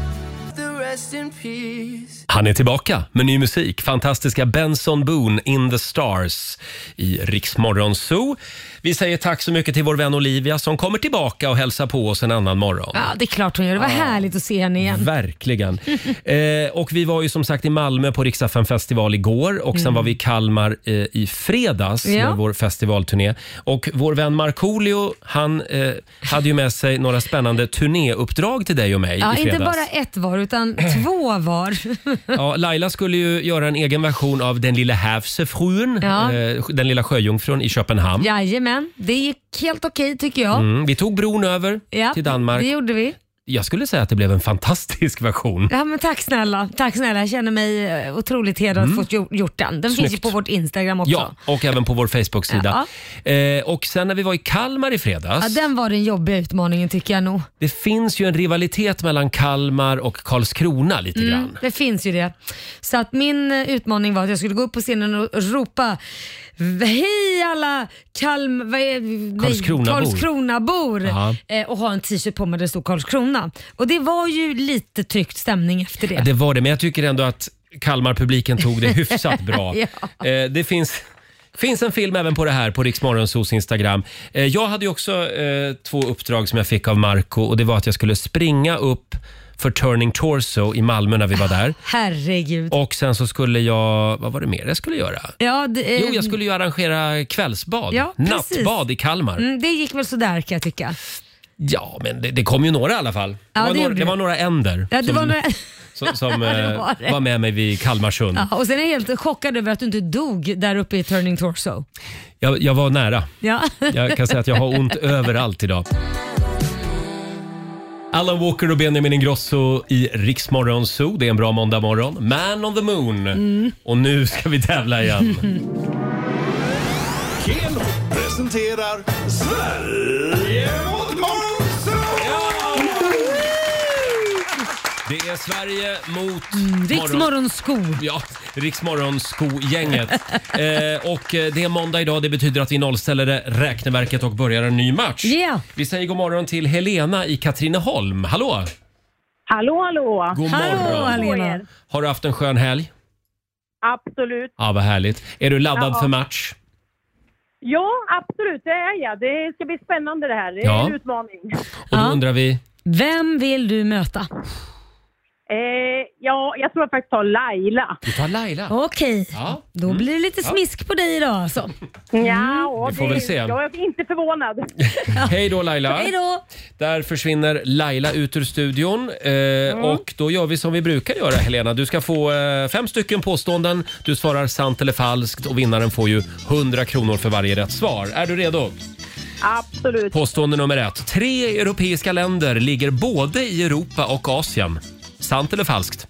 A: Han är tillbaka med ny musik. Fantastiska Benson Boone in the stars i Rix Morgon Zoo. Vi säger tack så mycket till vår vän Olivia som kommer tillbaka och hälsar på oss en annan morgon.
B: Ja, det är klart hon gör. Det var härligt att se henne igen.
A: Verkligen. Eh, och vi var ju som sagt i Malmö på Riksaffen festival igår och sen
B: Mm.
A: var vi i Kalmar eh, i fredags
B: Ja.
A: med vår festivalturné. Och vår vän Markoolio, han eh, hade ju med sig några spännande turnéuppdrag till dig och mig
B: Ja,
A: i fredags.
B: inte bara ett var utan två var.
A: Ja, Laila skulle ju göra en egen version av Den lilla havsefrun,
B: Ja.
A: eh, den lilla sjöjungfrun i Köpenhamn.
B: Jajamän, det gick helt okej tycker jag.
A: Mm, vi tog bron över
B: Ja,
A: till Danmark.
B: det gjorde vi.
A: Jag skulle säga att det blev en fantastisk version.
B: Ja, men tack snälla. Tack snälla. Jag känner mig eh, otroligt hedrad
A: Mm.
B: att få gjort den. Den finns ju
A: Snyggt.
B: på vårt Instagram också.
A: Ja, och även på vår Facebook-sida. Eh, och sen när vi var i Kalmar i fredags.
B: Ja, den var den jobbiga utmaningen tycker jag nog.
A: Det finns ju en rivalitet mellan Kalmar och Karlskrona lite grann.
B: Mm, det finns ju det. Så att min eh, utmaning var att jag skulle gå upp på scenen och ropa Hej alla Kalm... Vad är, nej,
A: Karlskronabor."
B: Karlskronabor!
A: Ja.
B: Eh, och ha en t-shirt på mig där det stod Karlskrona. Och det var ju lite tryckt stämning efter det.
A: Ja, Det var det, men jag tycker ändå att Kalmar-publiken tog det hyfsat bra.
B: Ja.
A: eh, det finns, finns en film även på det här på Riksmorgonsos Instagram. Eh, jag hade ju också eh, två uppdrag som jag fick av Marco och det var att jag skulle springa upp för Turning Torso i Malmö när vi var där.
B: Herregud.
A: Och sen så skulle jag, vad var det mer jag skulle göra?
B: Ja, det, eh,
A: Jo, jag skulle ju arrangera kvällsbad,
B: Ja, precis.
A: nattbad i Kalmar.
B: mm, det gick väl sådär kan jag tycka.
A: Ja, men det, det kom ju några i alla fall. Det,
B: Ja,
A: var,
B: det
A: några,
B: gjorde
A: det
B: det.
A: var några änder
B: Ja, det
A: som,
B: var några...
A: som, som
B: Ja, det
A: eh,
B: var det.
A: var med mig vid Kalmarsund.
B: ja, och sen är jag helt chockad över att du inte dog där uppe i Turning Torso.
A: Jag, jag var nära.
B: Ja.
A: Jag kan säga att jag har ont överallt idag. Alan Walker och Benjamin Ingrosso i Riksmorgon Zoo. Det är en bra måndagmorgon. Man on the moon.
B: Mm.
A: Och nu ska vi tävla igen.
D: Keno presenterar Sverige mot Monzo!
A: Det är Sverige mot...
B: Mm, Riksmorgon sko.
A: Ja, Riksmorgonsko-gänget. eh, och eh, det är måndag idag. Det betyder att vi nollställer det- räkneverket och börjar en ny match.
B: Yeah.
A: Vi säger god morgon till Helena i Katrineholm. Hallå!
G: Hallå, hallå!
A: God morgon. Har du haft en skön helg?
G: Absolut.
A: Ja, vad härligt. Är du laddad
G: Ja.
A: för match?
G: Ja, absolut, det är jag. Det ska bli spännande det här. Det är
A: Ja.
G: en utmaning.
A: Och då undrar vi...
B: Vem vill du möta?
G: Eh, ja, jag tror jag faktiskt tar Laila.
A: Du tar Laila?
B: Okej,
A: Ja.
B: då
A: Mm.
B: blir det lite
A: Ja.
B: smisk på dig idag alltså.
J: Mm.
G: Ja,
A: Vi får väl se.
G: Jag är inte förvånad.
A: Hej då Laila!
G: Hej då.
A: Där försvinner Laila ut ur studion. Eh,
G: Mm.
A: Och då gör vi som vi brukar göra Helena. Du ska få eh, fem stycken påståenden. Du svarar sant eller falskt och vinnaren får ju 100 kronor för varje rätt svar. Är du redo?
G: Absolut.
A: Påstående nummer ett. Tre europeiska länder ligger både i Europa och Asien. Sant eller falskt?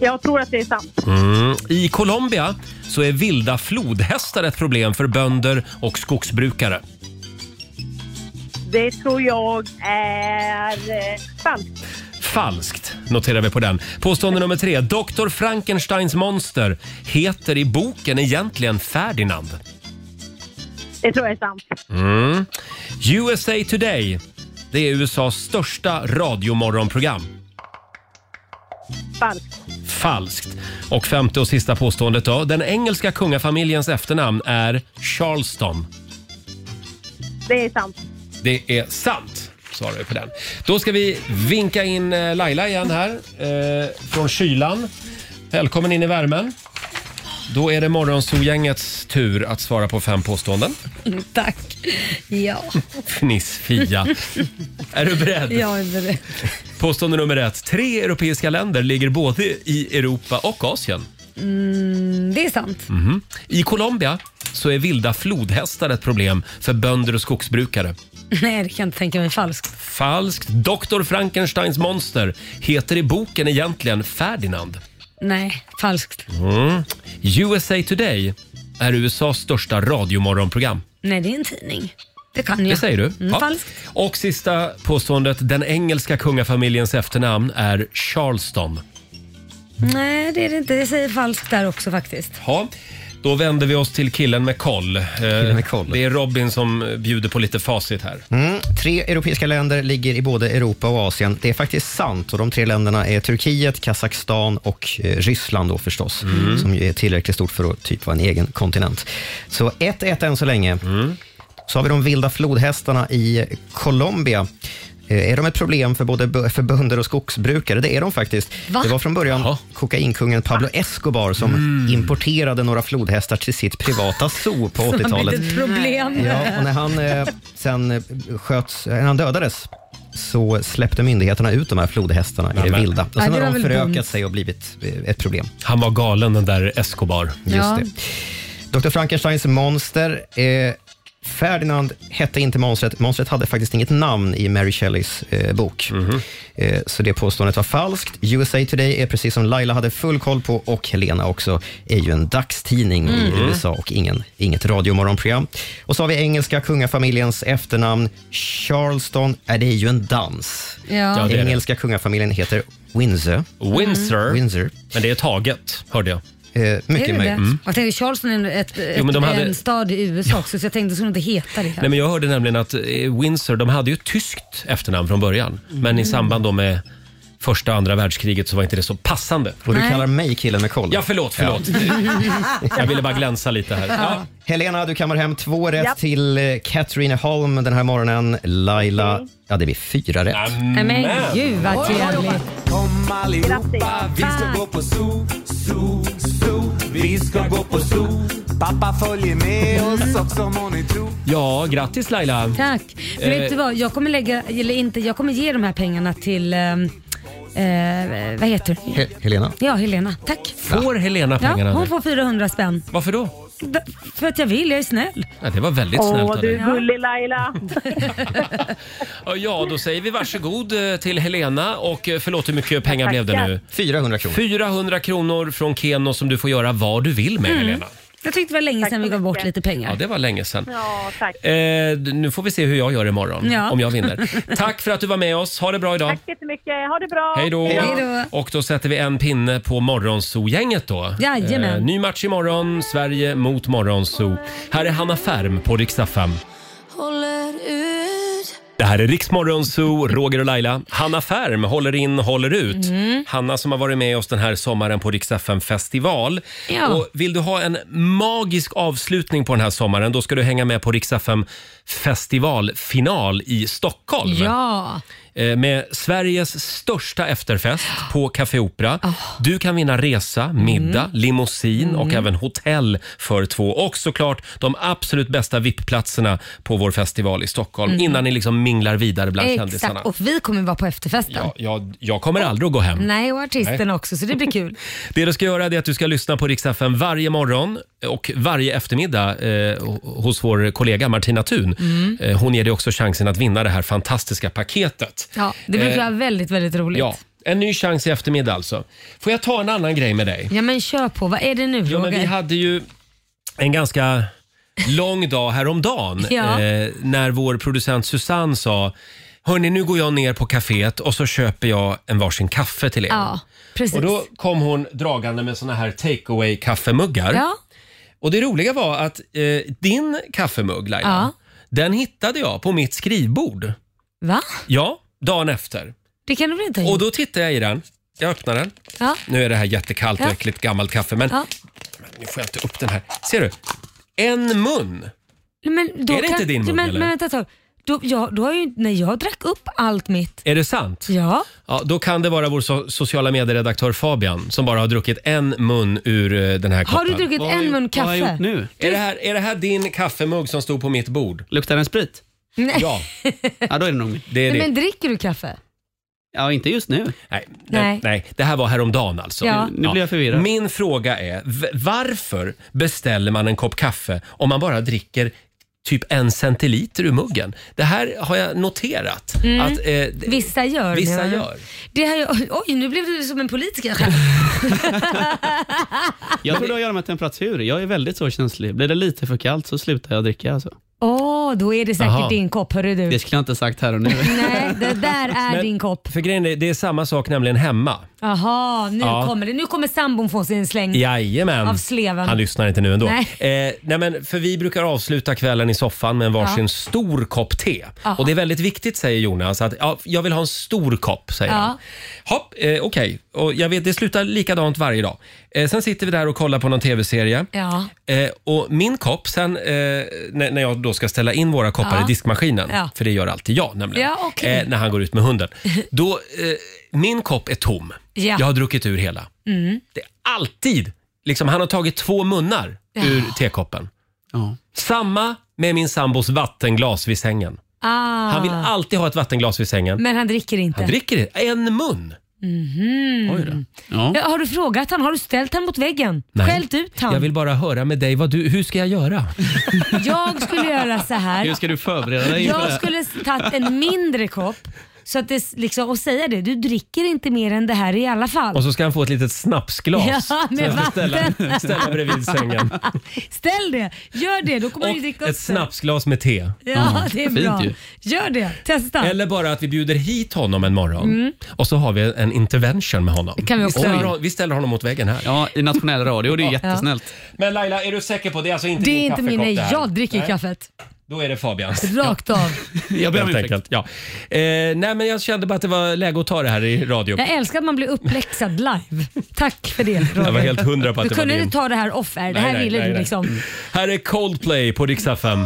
G: Jag tror att det är sant.
A: Mm. I Colombia så är vilda flodhästar ett problem för bönder och skogsbrukare.
G: Det tror jag är eh, falskt.
A: Falskt, noterar vi på den. Påstående nummer tre. Dr. Frankensteins monster heter i boken egentligen Ferdinand.
G: Det tror jag är sant.
A: Mm. USA Today, det är USAs största radiomorgonprogram.
G: Falskt.
A: Falskt. Och femte och sista påståendet då. Den engelska kungafamiljens efternamn är Charleston.
G: Det är sant.
A: Det är sant, svarar vi på den. Då ska vi vinka in eh, Laila igen här eh, från kylan. Välkommen in i värmen. Då är det Morgonzoo-gängets tur att svara på fem påståenden.
B: Tack. Ja,
A: Fniss-Fia. är du beredd?
B: jag är beredd.
A: Påstående nummer ett. Tre europeiska länder ligger både i Europa och Asien.
B: Mm, det är sant.
A: Mhm. I Colombia så är vilda flodhästar ett problem för bönder och skogsbrukare.
B: Nej, det kan jag inte tänka mig falskt.
A: Falskt. Dr. Frankensteins monster heter i boken egentligen Ferdinand.
B: Nej, falskt.
A: Mm. USA Today är USAs största radiomorgonprogram.
B: Nej, det är en tidning. Det kan jag.
A: Det säger du.
B: Mm,
A: Ja.
B: Falskt.
A: Och sista påståendet. Den engelska kungafamiljens efternamn är Charleston.
B: Nej, det är det inte. Det säger falskt där också faktiskt.
A: Ja. Då vänder vi oss till killen med koll. Eh, Det är Robin som bjuder på lite facit här.
F: Mm. Tre europeiska länder ligger i både Europa och Asien. Det är faktiskt sant. Och De tre länderna är Turkiet, Kazakstan och eh, Ryssland då förstås,
P: Mm.
F: som ju är tillräckligt stort för att typ vara en egen kontinent. Så 1-1 än så länge.
P: Mm.
F: Så har vi de vilda flodhästarna i Colombia. Eh, Är de ett problem för både bö- för bönder och skogsbrukare? Det är de faktiskt.
P: Va?
F: Det var från början kokainkungen Pablo Escobar som importerade några flodhästar till sitt privata zoo på
P: Mm. Som ett
F: 80-talet.
P: litet problem.
F: Ja, och när han eh, sen eh, sköts, när han dödades så släppte myndigheterna ut de här flodhästarna i det
A: Nämen.
F: vilda. Och
A: Ja,
F: sen
A: det
F: har
A: var
F: de
A: väl
F: förökat
A: dumt.
F: sig och blivit eh, ett problem.
A: Han var galen den där Escobar.
F: Just
A: Ja.
F: det. Dr. Frankensteins monster eh, Ferdinand hette inte monstret. Monstret hadde faktiskt inget namn i Mary Shelleys eh, bok.
B: Mhm.
F: Eh, så det påståendet var falskt. USA Today är precis som Laila hade full koll på och Helena också, är ju en dagstidning
P: Mm.
F: i USA och ingen, inget radiomorgonprogram. Och så har vi engelska kungafamiljens efternamn. Charleston, är det är ju en dans.
B: Ja. Ja, det är det.
F: engelska kungafamiljen heter Windsor.
A: Mm. Windsor?
F: Windsor.
A: Men det är taget, hörde jag.
F: Eh, mycket
B: är det
F: möjligt.
B: det? Jag tänkte Charleston är en- ett, ett,
A: Mm. Jo, men de hade-
B: en stad i USA också så jag tänkte det skulle inte heta det. här.
A: Nej, men jag hörde nämligen att eh, Windsor, de hade ju ett tyskt efternamn från början. Men i
B: Mm.
A: samband då med första och andra världskriget så var inte det så passande.
F: Och du Nej. kallar mig killen med koll?
A: Ja, förlåt, förlåt. Jag ville bara glänsa lite här. Ja.
F: Helena, du kammar hem två rätt
A: Japp.
F: till eh, Katrineholm den här morgonen. Laila, ja det blir fyra rätt.
A: mm.
B: Nej, men gud vad trevligt.
D: Kom allihopa, vi ska gå på zoo, zoo, zoo. Vi ska gå på zoo. Pappa följer med oss också må ni tro.
A: ja, grattis Laila.
B: Tack. Men
A: Eh.
B: vet du vad, jag kommer lägga, eller inte, jag kommer ge de här pengarna till, ehm, eh, vad heter det?
F: He- Helena.
B: Ja, Helena. Tack.
A: Får Helena pengarna
B: Ja, hon
A: nu?
B: får 400 spänn.
A: Varför då?
B: D- För att jag vill, jag är snäll.
A: Ja, det var väldigt snällt av dig.
B: gullig Laila.
A: Ja, Ja, då säger vi varsågod eh, till Helena och eh, förlåt hur mycket pengar blev det
B: Tackar.
A: nu?
F: 400 kronor.
A: 400 kronor från Keno som du får göra vad du vill med
B: Mm.
A: Helena.
B: Jag tyckte det var länge sedan vi gav bort lite pengar.
A: Ja, det var länge sedan.
B: Ja, tack.
A: Eh, d- nu får vi se hur jag gör imorgon
B: Ja.
A: om jag vinner. Tack för att du var med oss. Ha det bra idag.
G: Tack så jättemycket. Ha det bra.
A: Hej då. Och då sätter vi en pinne på Morgonzoo-gänget då. Eh,
G: Jajamän.
A: ny match imorgon. Sverige mot Morgonzoo. Här är Hanna Färm på riksdag fem.
D: Håller ut.
A: Det här är Riksmorgonzoo, Roger och Laila. Hanna Färm håller in, håller ut.
D: Mm.
A: Hanna som har varit med oss den här sommaren på Rix FM festival.
D: Ja.
A: Och vill du ha en magisk avslutning på den här sommaren då ska du hänga med på Rix FM festivalfinal i Stockholm.
B: Ja.
A: Eh, Med Sveriges största efterfest på Café Opera.
B: Ah.
A: Du kan vinna resa,
B: Mm.
A: middag, limousin och
D: Mm.
A: även hotell för två. Och såklart de absolut bästa VIP-platserna på vår festival i Stockholm.
B: Mm.
A: Innan ni liksom minglar vidare bland kändisarna.
B: Exakt, och vi kommer vara på efterfesten.
A: Ja, jag, jag kommer aldrig att gå hem.
B: Nej, och artisten
A: Mm. Nej.
B: också, så det blir kul.
A: Det du ska göra är att du ska lyssna på Rix FM varje morgon och varje eftermiddag eh, hos vår kollega Martina Thun.
B: Mm.
A: Eh, hon ger dig också chansen att vinna det här fantastiska paketet.
B: Ja, det brukar
A: Eh,
B: vara väldigt, väldigt roligt.
A: Ja, en ny chans i eftermiddag alltså. Får jag ta en annan grej med dig?
B: Ja, men kör på. Vad är det nu,
A: Ja,
B: Roger?
A: men vi hade ju en ganska lång dag häromdagen
B: Ja.
A: eh, när vår producent Susanne sa Hörni, nu går jag ner på kaféet och så köper jag en varsin kaffe till er.
B: Ja, precis.
A: Och då kom hon dragande med såna här takeaway kaffemuggar.
B: Ja.
A: Och det roliga var att eh, din kaffemugg Laila,
B: Ja.
A: den hittade jag på mitt skrivbord.
B: Va?
A: Ja, dagen efter.
B: Det kan du väl inte ha
A: Och
B: gjort?
A: då tittade jag i den. Jag öppnar den.
B: Ja.
A: Nu är det här jättekallt och
B: Ja.
A: äckligt gammalt kaffe, men
B: Ja.
A: nu får jag inte upp den här. Ser du? En mun.
B: Men då
A: Är det
B: kan,
A: inte din mugg,
B: men,
A: eller?
B: Men vänta ett tag. Då, ja, då har jag ju, nej, jag drack upp allt mitt.
A: Är det sant?
B: Ja.
A: Ja, då kan det vara vår so- sociala medieredaktör Fabian som bara har druckit en mun ur eh, den här koppen.
B: Har du druckit en mun kaffe?
A: Är det, här, är det här din kaffemugg som stod på mitt bord? Luktar den sprit?
B: Nej.
A: Ja. ja, då är det nog det
B: Nej, men dricker du kaffe?
A: Ja, inte just nu. Nej, nej.
B: Nej.
A: nej. det här var häromdagen alltså.
B: Ja. Nu- nu blir
A: jag förvirrad. Min fråga är, v- varför beställer man en kopp kaffe om man bara dricker typ en centiliter ur muggen? Det här har jag noterat.
B: Mm.
A: Att, eh, d-
B: Vissa gör
A: vissa
B: menar du?
A: gör.
B: Det här, gör- oj, nu blev du som en politiker.
E: Jag tror det har att göra med temperatur. Jag är väldigt så känslig. Blir det lite för kallt så slutar jag dricka. Alltså.
B: Åh, då är det säkert
E: Aha.
B: din kopp, hörru du.
E: Det skulle jag inte sagt här och nu.
B: Nej, det där är
A: Men-
B: din kopp.
A: För grejen är, det är samma sak nämligen hemma.
B: Jaha, nu
A: Ja.
B: kommer det. Nu kommer sambon få sin släng.
A: Jajamän.
B: Mm. Av sleven.
A: Han lyssnar inte nu ändå.
B: Nej.
A: Eh, nej men, för vi brukar avsluta kvällen i soffan med en varsin
B: Ja.
A: stor kopp te.
B: Ja.
A: Och det är väldigt viktigt säger Jonas att ja, jag vill ha en stor kopp. säger
B: Ja.
A: han. Hopp, eh, okej. Och jag vet, det slutar likadant varje dag. Eh, sen sitter vi där och kollar på någon tv-serie.
B: Ja.
A: Eh, och min kopp sen, eh, när, när jag då ska ställa in våra koppar
B: Ja.
A: i diskmaskinen,
B: Ja.
A: för det gör alltid jag nämligen,
B: Ja, okej.
A: eh, när han går ut med hunden. Då, eh, min kopp är tom.
B: Ja.
A: Jag har druckit ur hela
B: Mm.
A: alltid. Liksom, han har tagit två munnar
B: Ja.
A: ur tekoppen. Samma med min sambos vattenglas vid sängen.
B: Ah.
A: Han vill alltid ha ett vattenglas vid sängen.
B: Men han dricker inte.
A: han dricker det. en mun.
B: Mhm.
A: Oj då. Ja.
B: Ja, har du frågat han? Har du ställt han mot väggen?
A: Nej.
B: Skällt ut han?
A: Jag vill bara höra med dig, vad du, hur ska jag göra?
B: Jag skulle göra så här.
E: ska du förbereda dig inför det
B: Jag
E: här?
B: skulle tagit en mindre kopp så att det, s- liksom, och säga det, du dricker inte mer än det här i alla fall.
A: Och så ska han få ett litet snapsglas.
B: Ja,
A: som
B: med
A: jag ska
B: vatten.
A: ställa, ställa bredvid sängen.
B: Ställ det, gör det, då kommer du ju dricka upp
A: Ett
B: det.
A: snapsglas med te.
B: Ja, det är bra. Gör det, testa.
A: Eller bara att vi bjuder hit honom en morgon
B: Mm.
A: och så har vi en intervention med honom.
B: Det kan vi också
A: vi, ställer
B: göra.
A: honom, vi ställer honom mot väggen här.
E: Ja, i nationell radio. Det är jättesnällt.
A: Men Laila, är du säker på det? Är alltså inte
B: det
A: din
B: är inte min,
A: kaffekopp
B: nej,
A: det här?
B: jag dricker
A: Nej,
B: kaffet.
A: Då är det Fabians.
B: Rakt av.
A: Jag ber om ursäkt. Ja. Eh, nej, men jag kände bara att det var läge att ta det här i radio.
B: Jag älskar att man blir uppläxad live. Tack för det Roger.
A: Jag var helt hundra på att
B: Du
A: det var
B: kunde
A: din.
B: inte ta det här off-air, det
A: Nej,
B: här
A: nej,
B: ville
A: nej,
B: du
A: nej.
B: liksom.
A: Mm. Här är Coldplay på Rix FM.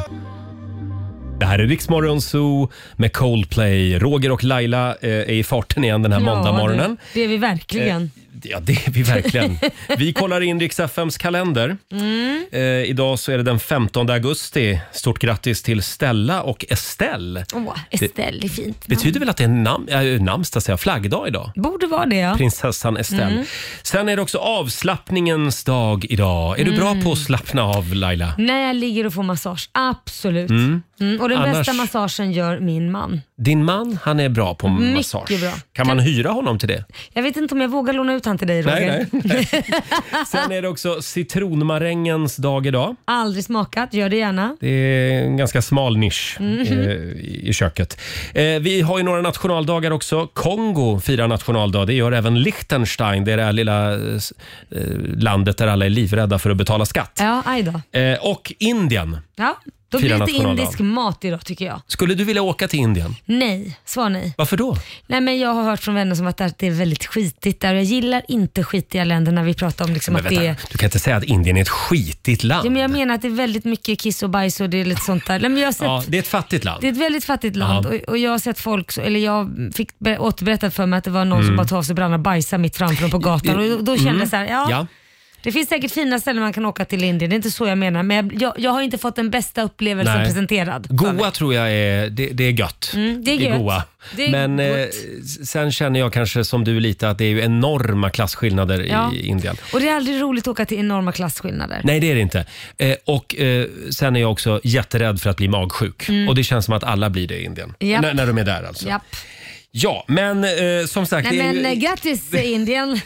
A: Det här är Riksmorgon Zoo med Coldplay. Roger och Laila eh, är i farten igen den här Eh,
B: Ja,
A: måndagmorgonen.
B: Det, det är vi verkligen.
A: Ja, det är vi verkligen. Vi kollar in Rix FMs kalender.
B: Mm.
A: Eh, idag så är det den 15 augusti. Stort grattis till Stella och Estelle.
B: Åh, Estelle, det är fint.
A: Det betyder väl att det är nam- äh, namnsdag, säger jag, flaggdag idag?
B: Borde vara det ja.
A: Prinsessan Estelle.
B: Mm.
A: Sen är det också avslappningens dag idag. Är du bra
B: Mm.
A: på att slappna av Laila?
B: När jag ligger och får massage, absolut.
A: Mm.
B: Mm. Och den
A: Annars-
B: bästa massagen gör min man.
A: Din man, han är bra på
B: Mycket
A: massage.
B: bra.
A: Kan man hyra honom till det?
B: Jag vet inte om jag vågar låna ut han till dig Roger.
A: Nej, nej, nej. Sen är det också citronmarängens dag idag.
B: Aldrig smakat, gör det gärna.
A: Det är en ganska smal nisch
B: Mhm.
A: eh, i köket. Eh, vi har ju några nationaldagar också. Kongo firar nationaldag. Det gör även Liechtenstein. Det är det här lilla eh, s- eh, landet där alla är livrädda för att betala skatt.
B: Ja, aj då.
A: Eh, och Indien.
B: Ja, då
A: Fira
B: blir det
A: nationaldagen.
B: indisk mat idag tycker jag.
A: Skulle du vilja åka till Indien?
B: Nej, svar nej.
A: Varför då?
B: Nej men jag har hört från vänner som varit där att det är väldigt skitigt där och jag gillar inte skitiga länder när vi pratar om liksom
A: Men
B: att det är
A: vänta, du kan inte säga att Indien är ett skitigt
B: Ja,
A: land.
B: men jag menar att det är väldigt mycket kiss och bajs och det är lite sånt där. Nej, men jag har sett,
A: Ja, det är ett fattigt land.
B: Det är ett väldigt fattigt land
A: Ja.
B: och, och jag har sett folk, så- eller jag fick be- återberättat för mig att det var någon
A: Mm.
B: som bara tog av sig brallorna och bajsade mitt framför dem på gatan och då, då kände
A: Mm.
B: jag så här, ja,
A: Ja.
B: Det finns säkert fina ställen man kan åka till i Indien, det är inte så jag menar. Men jag, jag, jag har inte fått den bästa upplevelsen
A: Nej.
B: presenterad.
A: Goa tror jag är, det, det är gött.
B: Mm, det är
A: I
B: gött.
A: Goa.
B: Det är
A: Men eh,
B: gott.
A: s- sen känner jag kanske som du lite att det är ju enorma klasskillnader
B: Ja.
A: i Indien.
B: Och det är aldrig roligt att åka till enorma klasskillnader.
A: Nej, det är det inte. Eh, och eh, sen är jag också jätterädd för att bli magsjuk.
B: Mm.
A: Och det känns som att alla blir det i Indien.
B: Japp.
A: När- När de är där alltså.
B: Japp.
A: Ja, men eh, som sagt.
B: Nej,
A: det är
B: men
A: ju,
B: eh, grattis Indien.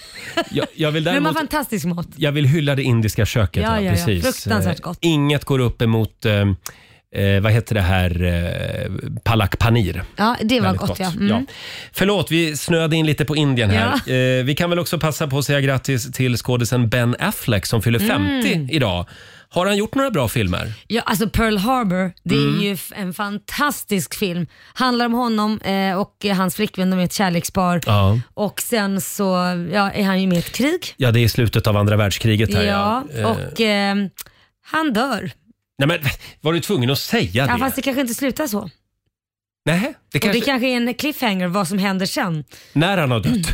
A: jag, jag vill
B: De har
A: däremot...
B: fantastisk mat.
A: Jag vill hylla det indiska köket.
B: Ja, ja, ja.
A: precis.
B: Fruktansvärt
A: Eh,
B: gott.
A: Inget går upp emot, eh, eh, vad heter det här, eh, palak panir.
B: Ja, det var
A: Väldigt
B: gott, ja. Mm.
A: Förlåt, vi snöade in lite på Indien här.
B: Ja.
A: Eh, vi kan väl också passa på att säga grattis till skådisen Ben Affleck som fyller 50
B: Mm.
A: idag. Har han gjort några bra filmer?
B: Ja, alltså Pearl Harbor, det
A: Mm.
B: är ju f- en fantastisk film. Handlar om honom eh, och hans flickvän, de är ett kärlekspar.
A: Ja.
B: Och sen så ja, är han ju med i ett krig.
A: Ja, det är i slutet av andra världskriget. Här,
B: Ja,
A: Eh,
B: och eh, han dör.
A: Nej, men, var du tvungen att säga
B: Ja,
A: det?
B: fast det kanske inte slutar så.
A: Nej, det
B: Och
A: kanske...
B: det kanske är en cliffhanger vad som händer sen.
A: När han har
B: Mm.
A: dött?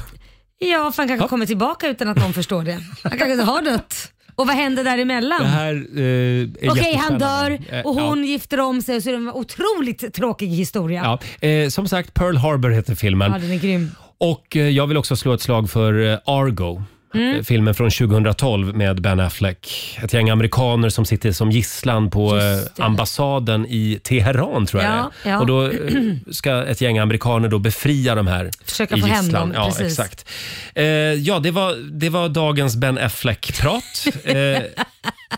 B: Ja, för han kanske kommer tillbaka utan att någon förstår det. Han kanske har dött. Och vad händer däremellan?
A: Det här eh, är
B: Okej, han
A: jättespännande.
B: dör
A: Eh,
B: och
A: ja.
B: hon gifter om sig och så är det en otroligt tråkig historia. Ja,
A: Ja. Eh, som sagt, Pearl Harbor heter filmen.
B: den är grym.
A: Och eh, jag vill också slå ett slag för eh, Argo.
B: Mm.
A: Eh, Filmen från 2012 med Ben Affleck. Ett gäng amerikaner som sitter som gisslan på
B: Just det.
A: eh, ambassaden i Teheran tror jag
B: Ja,
A: det är.
B: ja.
A: Och då eh, ska ett gäng amerikaner då befria de här
B: Försöka
A: i
B: få hem
A: gisslan.
B: dem,
A: ja,
B: precis.
A: exakt. Eh, ja, det var, det var dagens Ben Affleck-prat. Eh,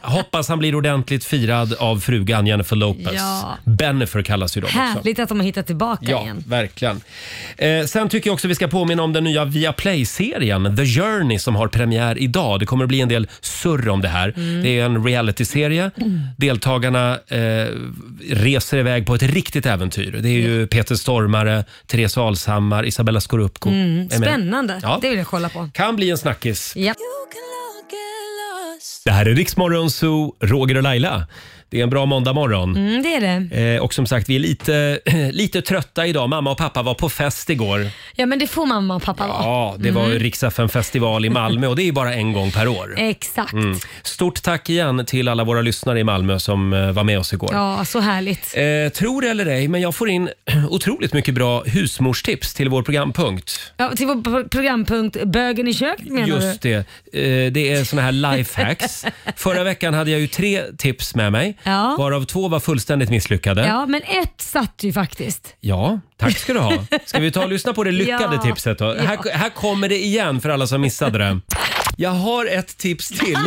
A: hoppas han blir ordentligt firad av frugan Jennifer Lopez.
B: Ja.
A: Bennifer kallas ju de också.
B: Härligt att de har hittat tillbaka
A: Ja,
B: igen.
A: verkligen. Eh, sen tycker jag också vi ska påminna om den nya Viaplay-serien The Journey som har premiär idag. Det kommer att bli en del surr om det här.
P: Mm.
A: Det är en reality-serie.
P: Mm.
A: Deltagarna eh, reser iväg på ett riktigt äventyr. Det är ju Peter Stormare, Therese Alshammar, Isabella Scorupco. är
B: Mm,
A: med.
B: spännande,
A: Ja.
B: det vill jag kolla på.
A: Kan bli en snackis.
B: Ja.
A: Det här är Riksmorgon Zoo, Roger och Laila. Det är en bra måndagmorgon.
B: Mm, det är det.
A: Eh, och som sagt, vi är lite, lite trötta idag. Mamma och pappa var på fest igår.
B: Ja men det får mamma och pappa vara.
A: Ja, det var
B: Mm.
A: ju Rix festival i Malmö och det är ju bara en gång per
B: Eh.
A: år.
B: Exakt.
A: Mm. Stort tack igen till alla våra lyssnare i Malmö som eh, var med oss igår.
B: Ja, så härligt.
A: Eh, tror eller ej, men jag får in otroligt mycket bra husmorstips till vår programpunkt.
B: Ja, till vår pro- programpunkt Bögen i köket menar
A: Just det. Eh, det är såna här lifehacks. Förra veckan hade jag ju tre tips med mig,
B: Ja.
A: varav två var fullständigt
B: du?
A: misslyckade.
B: Ja, men ett satt ju faktiskt.
A: Ja, tack ska du ha. Ska vi ta och lyssna på det lyckade
B: Ja.
A: tipset då? Här, här kommer det igen för alla som missade det. Jag har ett tips till.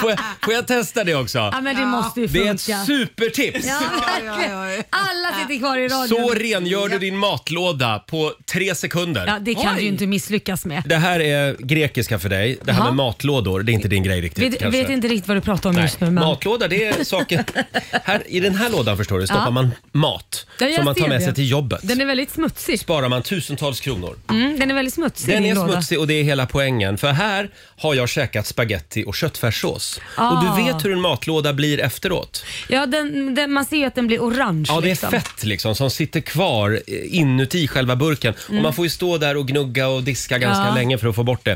A: Får jag, får jag testa det också?
B: Ja, men det måste ju
A: Det är ett
B: funka.
A: supertips!
B: Ja, verkligen. Alla sitter kvar i radion.
A: Så rengör du din matlåda på tre sekunder.
B: Ja, det kan du ju inte misslyckas med.
A: Det här är grekiska för dig. Det här
B: Jaha.
A: med matlådor, det är inte din grej riktigt
B: Vet,
A: kanske.
B: vet inte riktigt vad du pratar om
A: Nej.
B: just nu. Men...
A: Matlåda, det är saker... här, I den här lådan förstår du stoppar
B: Ja.
A: man mat
B: Ja, jag
A: som man tar
B: ser
A: med
B: det.
A: sig till jobbet.
B: Den är väldigt smutsig.
A: Sparar man tusentals kronor.
B: Mm, den är väldigt smutsig
A: Den
B: din
A: är
B: låda.
A: smutsig och det är hela poängen. För här har jag käkat spaghetti och köttfärssås.
B: Ah.
A: Och du vet hur en matlåda blir efteråt.
B: Ja, den, den, man ser ju att den blir orange.
A: Ja, det är
B: liksom.
A: fett liksom som sitter kvar eh, inuti själva burken.
B: Mm.
A: Och man får ju stå där och gnugga och diska ganska
B: Ja.
A: länge för att få bort det.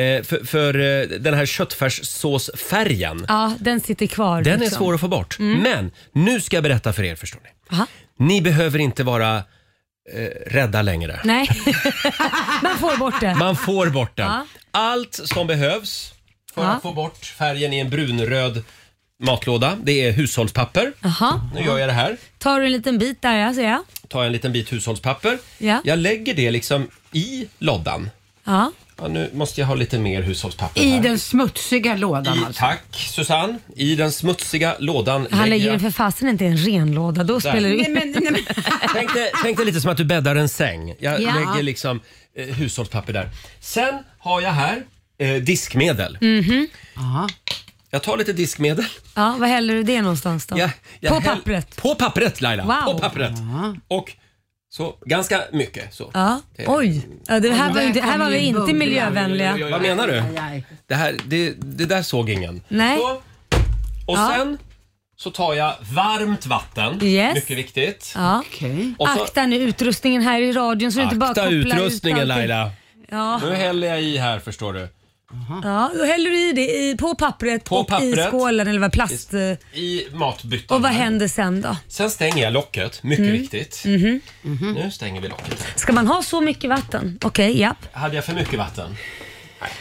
A: Eh, för för eh, den här köttfärssåsfärgen,
B: Ja, den sitter kvar.
A: den är
B: liksom.
A: svår att få bort.
B: Mm.
A: Men nu ska jag berätta för er förstår ni.
B: Aha.
A: Ni behöver inte vara eh, rädda längre.
B: Nej, man får bort det.
A: Man får bort den.
B: Ja.
A: Allt som behövs för
B: Ja.
A: att få bort färgen i en brunröd matlåda, det är hushållspapper.
B: Jaha.
A: Nu gör jag det här.
B: Tar du en liten bit där, ja, ser jag.
A: Tar en liten bit hushållspapper.
B: Ja.
A: Jag lägger det liksom i loddan.
B: Ja.
A: Ja, nu måste jag ha lite mer hushållspapper
H: I
A: här.
H: den smutsiga lådan
A: I,
H: alltså.
A: tack Susanne. I den smutsiga lådan
B: Han lägger den
A: jag...
B: för fasen inte i en ren låda. Då spelar det
H: Nej, men, nej, men.
A: tänk, dig, tänk dig lite som att du bäddar en säng. Jag
B: Ja.
A: lägger liksom eh, hushållspapper där. Sen har jag här eh, diskmedel.
B: Mhm.
A: Jag tar lite diskmedel.
B: Ja, var häller du det någonstans då?
A: Ja, jag
B: På
A: häll-
B: pappret?
A: På pappret Laila.
B: Wow.
A: På pappret. Och så ganska mycket. Så.
B: Ja.
A: Det-
B: Oj, ja, det här var, ju inte, här var vi inte
A: Bubblan.
B: miljövänliga.
A: Vad menar du? Det, här, det, det där såg ingen.
B: Nej.
A: Och
B: Ja.
A: sen så tar jag varmt vatten.
B: Yes.
A: Mycket viktigt.
B: Ja.
A: Och så,
B: Akta nu utrustningen här i radion så du inte bara
A: akta
B: kopplar ut
A: utrustningen
B: allting.
A: Laila.
B: Ja.
A: Nu häller jag i här förstår du.
B: ja, då häller du i det i, på pappret
A: På
B: och i
A: pappret.
B: skålen eller vad plast... eh,
A: I
B: Och
A: matbyttan.
B: vad
A: här.
B: händer sen då?
A: Sen stänger jag locket. Mycket
B: Mm.
A: viktigt.
B: Mhm.
A: Nu stänger vi locket.
B: Ska man ha så mycket vatten? Okej, japp.
A: Hade jag för mycket vatten?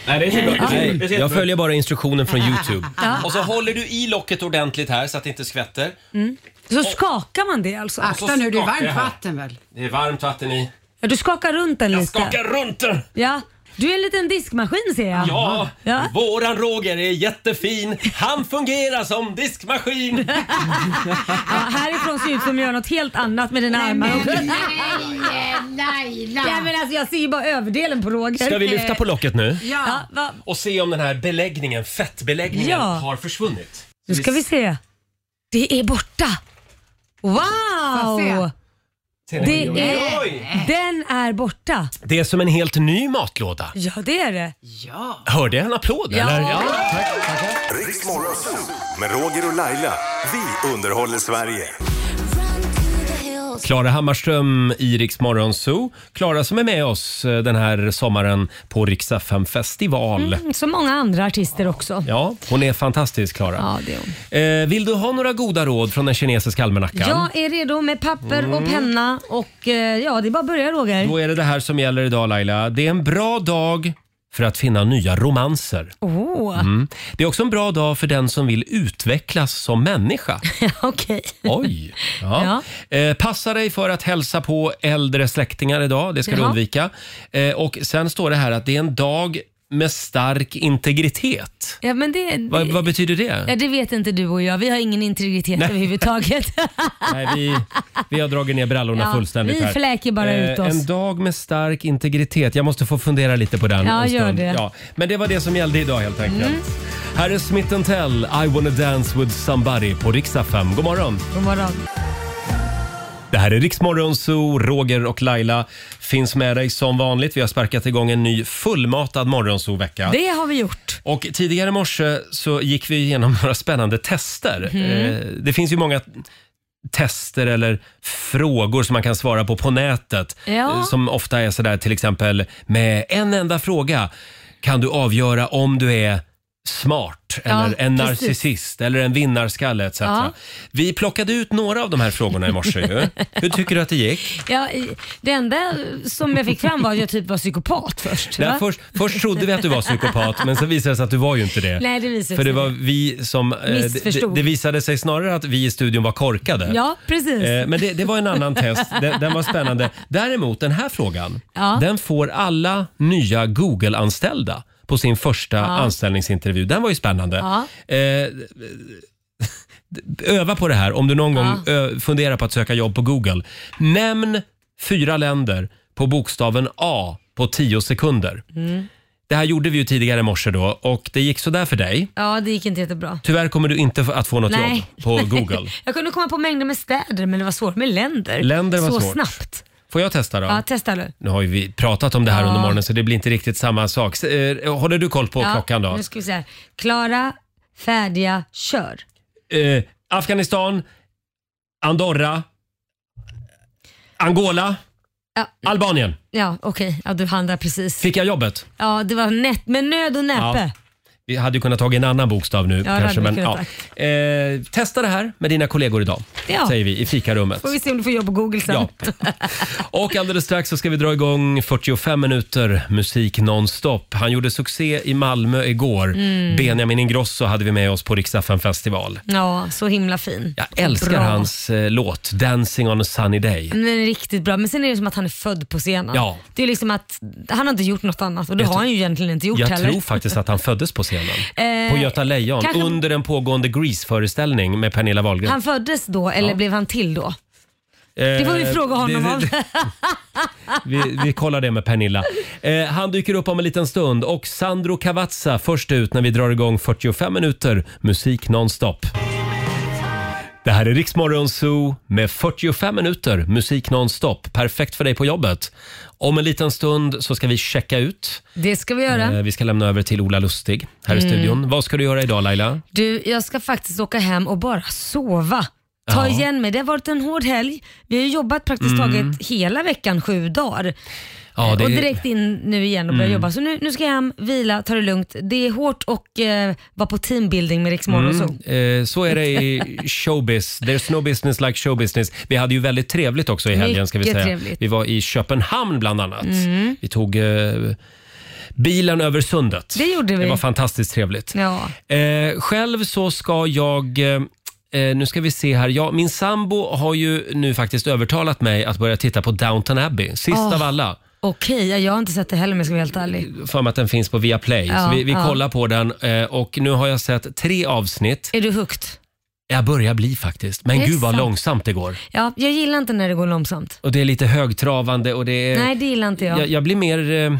A: Nej, det är
B: så bra. Det är så- det är så
A: Nej,
B: jättebra. Ah.
A: jag följer bara instruktionen från Youtube.
B: Ja.
A: Och så håller du i locket ordentligt här så att det inte skvätter.
B: Mm. Så skakar man det alltså?
A: Akta Och så nu, det är skakar varmt jag här. vatten
H: väl?
A: Det är varmt vatten i.
B: Ja, du skakar runt den lite.
A: Skaka runt den!
B: Ja. Du är en liten diskmaskin ser jag.
A: Ja,
B: ja.
A: våran Roger är jättefin. Han fungerar som diskmaskin.
B: Ja, härifrån ser det ut som jag gör något helt annat med dina armar. och-
P: men nej, nej.
B: Ja, men alltså, jag ser ju bara överdelen på Roger.
A: Ska vi lyfta på locket nu?
B: Ja. va-
A: Och se om den här beläggningen, fettbeläggningen,
B: Ja.
A: har försvunnit.
B: Nu ska vi se. Det är borta.
H: Får jag
B: Wow! Det
A: Oj, oj,
B: är,
A: oj.
B: den är borta.
A: Det är som en helt ny matlåda.
B: Ja, det är det.
A: Hörde jag en applåd
B: Ja.
A: eller?
C: Riks Morgonzoo med Roger och Laila. Vi underhåller Sverige.
A: Klara Hammarström i Rix Morgon Zoo. Klara som är med oss eh, den här sommaren på Rix FM festival.
B: Mm, Så många andra artister också.
A: Ja, hon är fantastisk Klara.
B: Ja, det är hon.
A: Eh, vill du ha några goda råd från den kinesiska almanackan?
B: Jag är redo med papper och
A: Mm.
B: penna och eh, ja, det är bara att börja Roger.
A: Då är det det här som gäller idag Laila. Det är en bra dag för att finna nya romanser.
B: Åh,
A: Mm. Det är också en bra dag för den som vill utvecklas som människa.
B: okej.
A: Oj! Ja. Eh, passa dig för att hälsa på äldre släktingar idag. Det ska du
B: Jaha.
A: undvika. Eh, och Sen står det här att det är en dag med stark integritet.
B: Ja, men det, det,
A: Vad, vad betyder
B: ja,
A: det?
B: det vet inte du och jag. Vi har ingen integritet
A: Nej.
B: överhuvudtaget.
A: Nej, vi, vi har dragit ner brallorna
B: Ja,
A: fullständigt.
B: vi
A: här. Eh,
B: fläker bara ut oss.
A: En dag med stark integritet. Jag måste få fundera lite på den.
B: Ja,
A: en
B: gör
A: stund.
B: det. Mm.
A: Ja, men det var det som gällde idag helt enkelt. Här är Smith Tell, I wanna dance with somebody på riksdag 5. God morgon!
B: God morgon.
A: Det här är Riksmorgon Zoo, Roger och Laila finns med dig som vanligt. Vi har sparkat igång en ny fullmatad morgonzoo-vecka.
B: Det har vi gjort.
A: Och tidigare i morse så gick vi igenom några spännande tester.
B: Mm.
A: Eh, Det finns ju många tester eller frågor som man kan svara på på nätet.
B: Ja.
A: eh, Som ofta är sådär till exempel med en enda fråga kan du avgöra om du är smart eller
B: Ja,
A: en
B: precis.
A: narcissist eller en vinnarskalle etc.
B: Ja.
A: Vi plockade ut några av de här frågorna i morse ju. Hur tycker du att det gick?
B: Ja, i- det enda som jag fick fram var att jag typ var psykopat först.
A: Nej,
B: va?
A: först, först trodde vi att du var psykopat men sen visade det sig att du var ju inte det.
B: Nej, det visade
A: För det
B: sig.
A: var vi som... eh, det,
B: Missförstod.
A: det visade sig snarare att vi i studion var korkade.
B: Ja, precis.
A: Eh, Men det, det var en annan test. Den, den var spännande. Däremot den här frågan,
B: Ja.
A: den får alla nya Google-anställda på sin första
B: Ja.
A: anställningsintervju. Den var ju spännande.
B: Ja.
A: Eh, öva på det här om du någon gång
B: Ja.
A: ö, funderar på att söka jobb på Google. Nämn fyra länder på bokstaven A på 10 sekunder.
B: Mm.
A: Det här gjorde vi ju tidigare i morse då och det gick sådär för dig.
B: Ja, det gick inte jättebra.
A: Tyvärr kommer du inte att få något jobb på Google.
B: Jag kunde komma på mängder med städer, men det var svårt med länder.
A: Länder var
B: Så
A: svårt.
B: snabbt.
A: Får jag testa då?
B: Ja, testa du.
A: Nu har ju vi pratat om det här
B: Ja.
A: under morgonen så det blir inte riktigt samma sak. Så, eh, Håller du koll på
B: ja,
A: klockan då?
B: Nu ska vi säga klara, färdiga, kör.
A: Eh, Afghanistan, Andorra, Angola, Albanien.
B: Ja, okej. Ja, du handlar precis.
A: Fick jag jobbet?
B: Ja, det var nätt med nöd och näppe.
A: Vi hade ju kunnat ta en annan bokstav nu
B: Ja, det
A: kanske.
B: hade
A: Men,
B: vi
A: ja.
B: kunnat
A: eh, testa det här med dina kollegor idag,
B: Ja.
A: säger vi i fikarummet.
B: Får vi se om du får jobb på Google sen.
A: Ja. Och alldeles strax så ska vi dra igång 45 minuter musik nonstop. Han gjorde succé i Malmö igår.
B: Mm.
A: Benjamin Ingrosso hade vi med oss på Riksdagen festival.
B: Ja, så himla fin.
A: Jag älskar
B: Bra. Mm,
A: hans eh, låt Dancing on a sunny day.
B: Den är riktigt bra, men sen är det som att han är född på scenen.
A: Ja.
B: Det är liksom att han har inte gjort något annat och det
A: Jag
B: har
A: tr-
B: han ju egentligen inte gjort
A: Jag
B: heller.
A: tror faktiskt att han föddes på scenen.
B: Eh,
A: på Göta Lejon
B: kanske-
A: under en pågående Grease-föreställning med Pernilla Wahlgren.
B: Han föddes då eller blev han till då? Det får vi
A: Eh,
B: fråga honom
A: det-
B: om.
A: det- Vi, vi kollar det med Pernilla. Eh, han dyker upp om en liten stund och Sandro Cavazza först ut när vi drar igång 45 minuter musik nonstop. Det här är Riksmorgon Zoo med 45 minuter musik nonstop. Perfekt för dig på jobbet. Om en liten stund så ska vi checka ut.
B: Det ska vi göra.
A: Eh, Vi ska lämna över till Ola Lustig här i
B: Mm.
A: studion. Vad ska du göra idag Laila?
B: Du, jag ska faktiskt åka hem och bara sova.
A: Ja.
B: Ta igen mig. Det har varit en hård helg. Vi har ju jobbat praktiskt
A: Mm.
B: taget hela veckan, sju dagar.
A: Ja, det
B: Och
A: är-
B: direkt in nu igen och börja
A: Mm.
B: jobba. Så nu, nu ska jag hem, vila, ta det lugnt. Det är hårt och eh, vara på teambuilding med Rix
A: Mm,
B: Morgonzoo.
A: eh, så är det i showbiz. There's no business like show business. Vi hade ju väldigt trevligt också i helgen. Ska vi,
B: Mycket
A: säga.
B: trevligt.
A: vi var i Köpenhamn bland annat.
B: Mm.
A: Vi tog eh, bilen över sundet.
B: Det gjorde vi.
A: Det var fantastiskt trevligt.
B: Ja.
A: Eh, själv så ska jag... eh, Eh, nu ska vi se här. Ja, min sambo har ju nu faktiskt övertalat mig att börja titta på Downton Abbey, sist
B: Åh.
A: av alla.
B: Okej, ja, jag har inte sett det heller om jag ska vara helt ärlig.
A: För mig att den finns på Viaplay.
B: Ja,
A: så vi, vi
B: ja.
A: kollar på den eh, och nu har jag sett tre avsnitt.
B: Är du högt?
A: Jag börjar bli faktiskt. Men
B: Det är
A: gud vad
B: sant.
A: långsamt det går.
B: Ja, jag gillar inte när det går långsamt.
A: Och det är lite högtravande och det är...
B: Nej, det gillar inte jag.
A: Eh, jag, jag blir mer eh,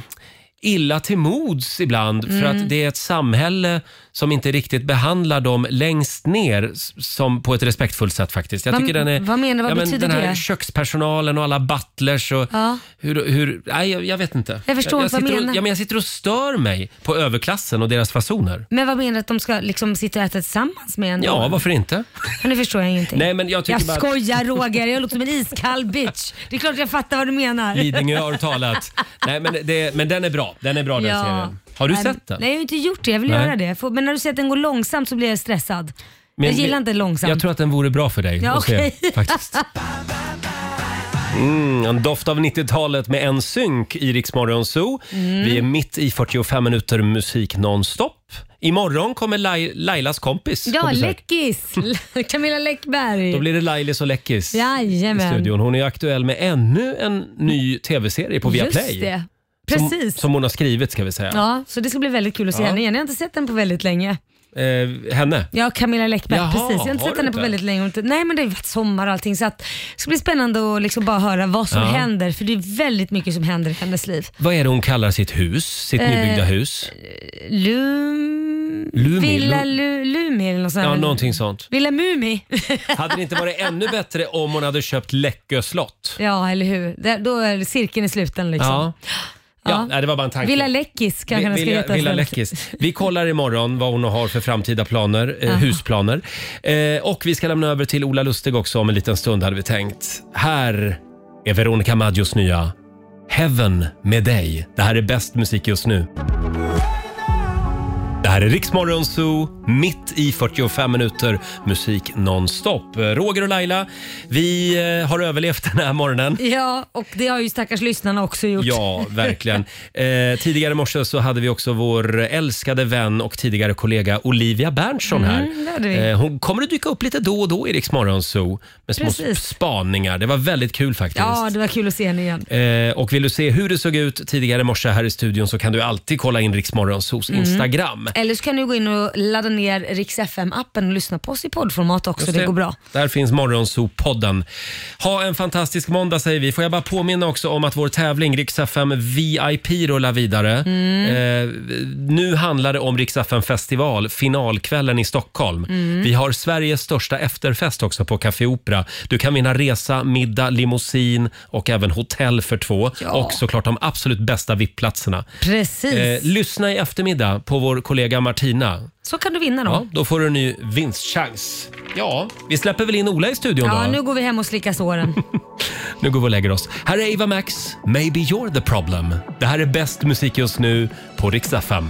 A: illa till mods ibland för
B: Mm.
A: att det är ett samhälle som inte riktigt behandlar dem längst ner s- som på ett respektfullt sätt faktiskt. Jag
B: Vad-
A: tycker den är...
B: vad menar- vad
A: ja, men
B: betyder
A: Den här
B: det?
A: kökspersonalen och alla butlers och
B: Ja.
A: hur... hur nej, jag, jag vet inte.
B: Jag förstår
A: jag,
B: inte vad du
A: sitter
B: menar.
A: Och, ja, men jag sitter och stör mig på överklassen och deras fasoner.
B: Men vad menar du att de ska liksom sitta och äta tillsammans med en? då?
A: Ja, varför inte?
B: Men nu förstår jag ingenting.
A: Nej, men jag tycker bara att-
B: skojar Roger, jag låter som en iskall bitch. Det är klart jag fattar vad du menar.
A: Lidingö har talat. Nej, men, det, men den är bra. Den är bra den
B: Ja.
A: serien. Har du
B: Nej,
A: sett den?
B: Nej, jag har inte gjort det. Jag vill
A: Nej.
B: göra det. Får- Men när du säger att den går långsamt så blir jag stressad.
A: Men-
B: jag gillar
A: men-
B: inte långsamt.
A: Jag tror att den vore bra för dig
B: ja,
A: att
B: okej.
A: se. Faktiskt. Mm, en doft av 90-talet med en synk i Rix Morgon Zoo.
B: Mm.
A: Vi är mitt i 45 minuter musik nonstop. Imorgon kommer Lai- Lailas kompis på
B: ja,
A: besök.
B: Läckis. Camilla Läckberg.
A: Då blir det Lailis och Läckis i
B: Jajamän.
A: studion. Hon är ju aktuell med ännu en ny tv-serie på Viaplay.
B: Just det.
A: Som,
B: Precis.
A: som hon har skrivit ska vi säga.
B: Ja, så det ska bli väldigt kul att se
A: Ja.
B: henne igen. Jag har inte sett den på väldigt länge.
A: Eh, henne.
B: Ja, Camilla Läckberg.
A: Jaha,
B: precis. Jag har inte
A: har
B: sett
A: du
B: henne på
A: inte?
B: väldigt länge. Hon har inte- Nej, men det har ju varit sommar och allting. Så att, det ska bli spännande att liksom bara höra vad som
A: Ja.
B: händer. För det är väldigt mycket som händer i hennes liv.
A: Vad är det hon kallar sitt hus? Sitt
B: Eh,
A: nybyggda hus?
B: Lum...
A: Lumi,
B: Villa
A: Lu-
B: Lu- Lumi eller något sånt.
A: Ja, någonting sånt.
B: Villa Mumi.
A: Hade det inte varit ännu bättre om hon hade köpt Läckö slott?
B: ja, eller hur. Där, då är cirkeln i sluten liksom.
A: Ja. Ja,
B: Ja.
A: nej, det var bara en tanke.
B: Villa Läckis kanske den ska
A: Villa,
B: heta.
A: Villa
B: istället.
A: Läckis. Vi kollar imorgon vad hon har för framtida planer, eh,
B: Aha.
A: husplaner. Eh, och vi ska lämna över till Ola Lustig också om en liten stund hade vi tänkt. Här är Veronica Maggios nya Heaven med dig. Det här är bäst musik just nu. Det här är Riksmorgon Zoo, mitt i 45 minuter musik nonstop. Eh, Roger och Laila, vi eh, har överlevt den här morgonen.
B: Ja, och det har ju stackars lyssnarna också gjort.
A: Ja, verkligen. Eh, tidigare i morse så hade vi också vår älskade vän och tidigare kollega Olivia Berntsson här.
B: Mm, det hade vi.
A: Eh, hon kommer att dyka upp lite då och då i Rix Morgon Zoo med små
B: Precis.
A: spaningar. Det var väldigt kul faktiskt.
B: ja, det var kul att se henne igen.
A: Eh, och vill du se hur det såg ut tidigare i morse här i studion så kan du alltid kolla in Rix Morgon Zoos
B: Mm.
A: Instagram.
B: Eller så kan du gå in och ladda ner Rix FM-appen och lyssna på oss i poddformat också.
A: Just
B: Det. går bra.
A: Där finns Morgonzoo-podden. Ha en fantastisk måndag säger vi. Får jag bara påminna också om att vår tävling Rix FM VIP rullar vidare.
B: Mm.
A: Eh, nu handlar det om Rix FM festival, finalkvällen i Stockholm.
Q: Mm.
A: Vi har Sveriges största efterfest också på Café Opera. Du kan vinna resa, middag, limousin och även hotell för två. Och såklart de absolut bästa VIP-platserna.
B: Precis.
A: Eh, lyssna i eftermiddag på vår kollega Martina.
B: Så kan du vinna då.
A: Ja, då får du en ny vinstchans. Ja, vi släpper väl in Ola i studion
B: Ja,
A: då?
B: nu går vi hem och slickar såren.
A: Nu går vi och lägger oss. Här är Eva Max, Maybe You're the Problem. Det här är bäst musik just nu på Rix FM.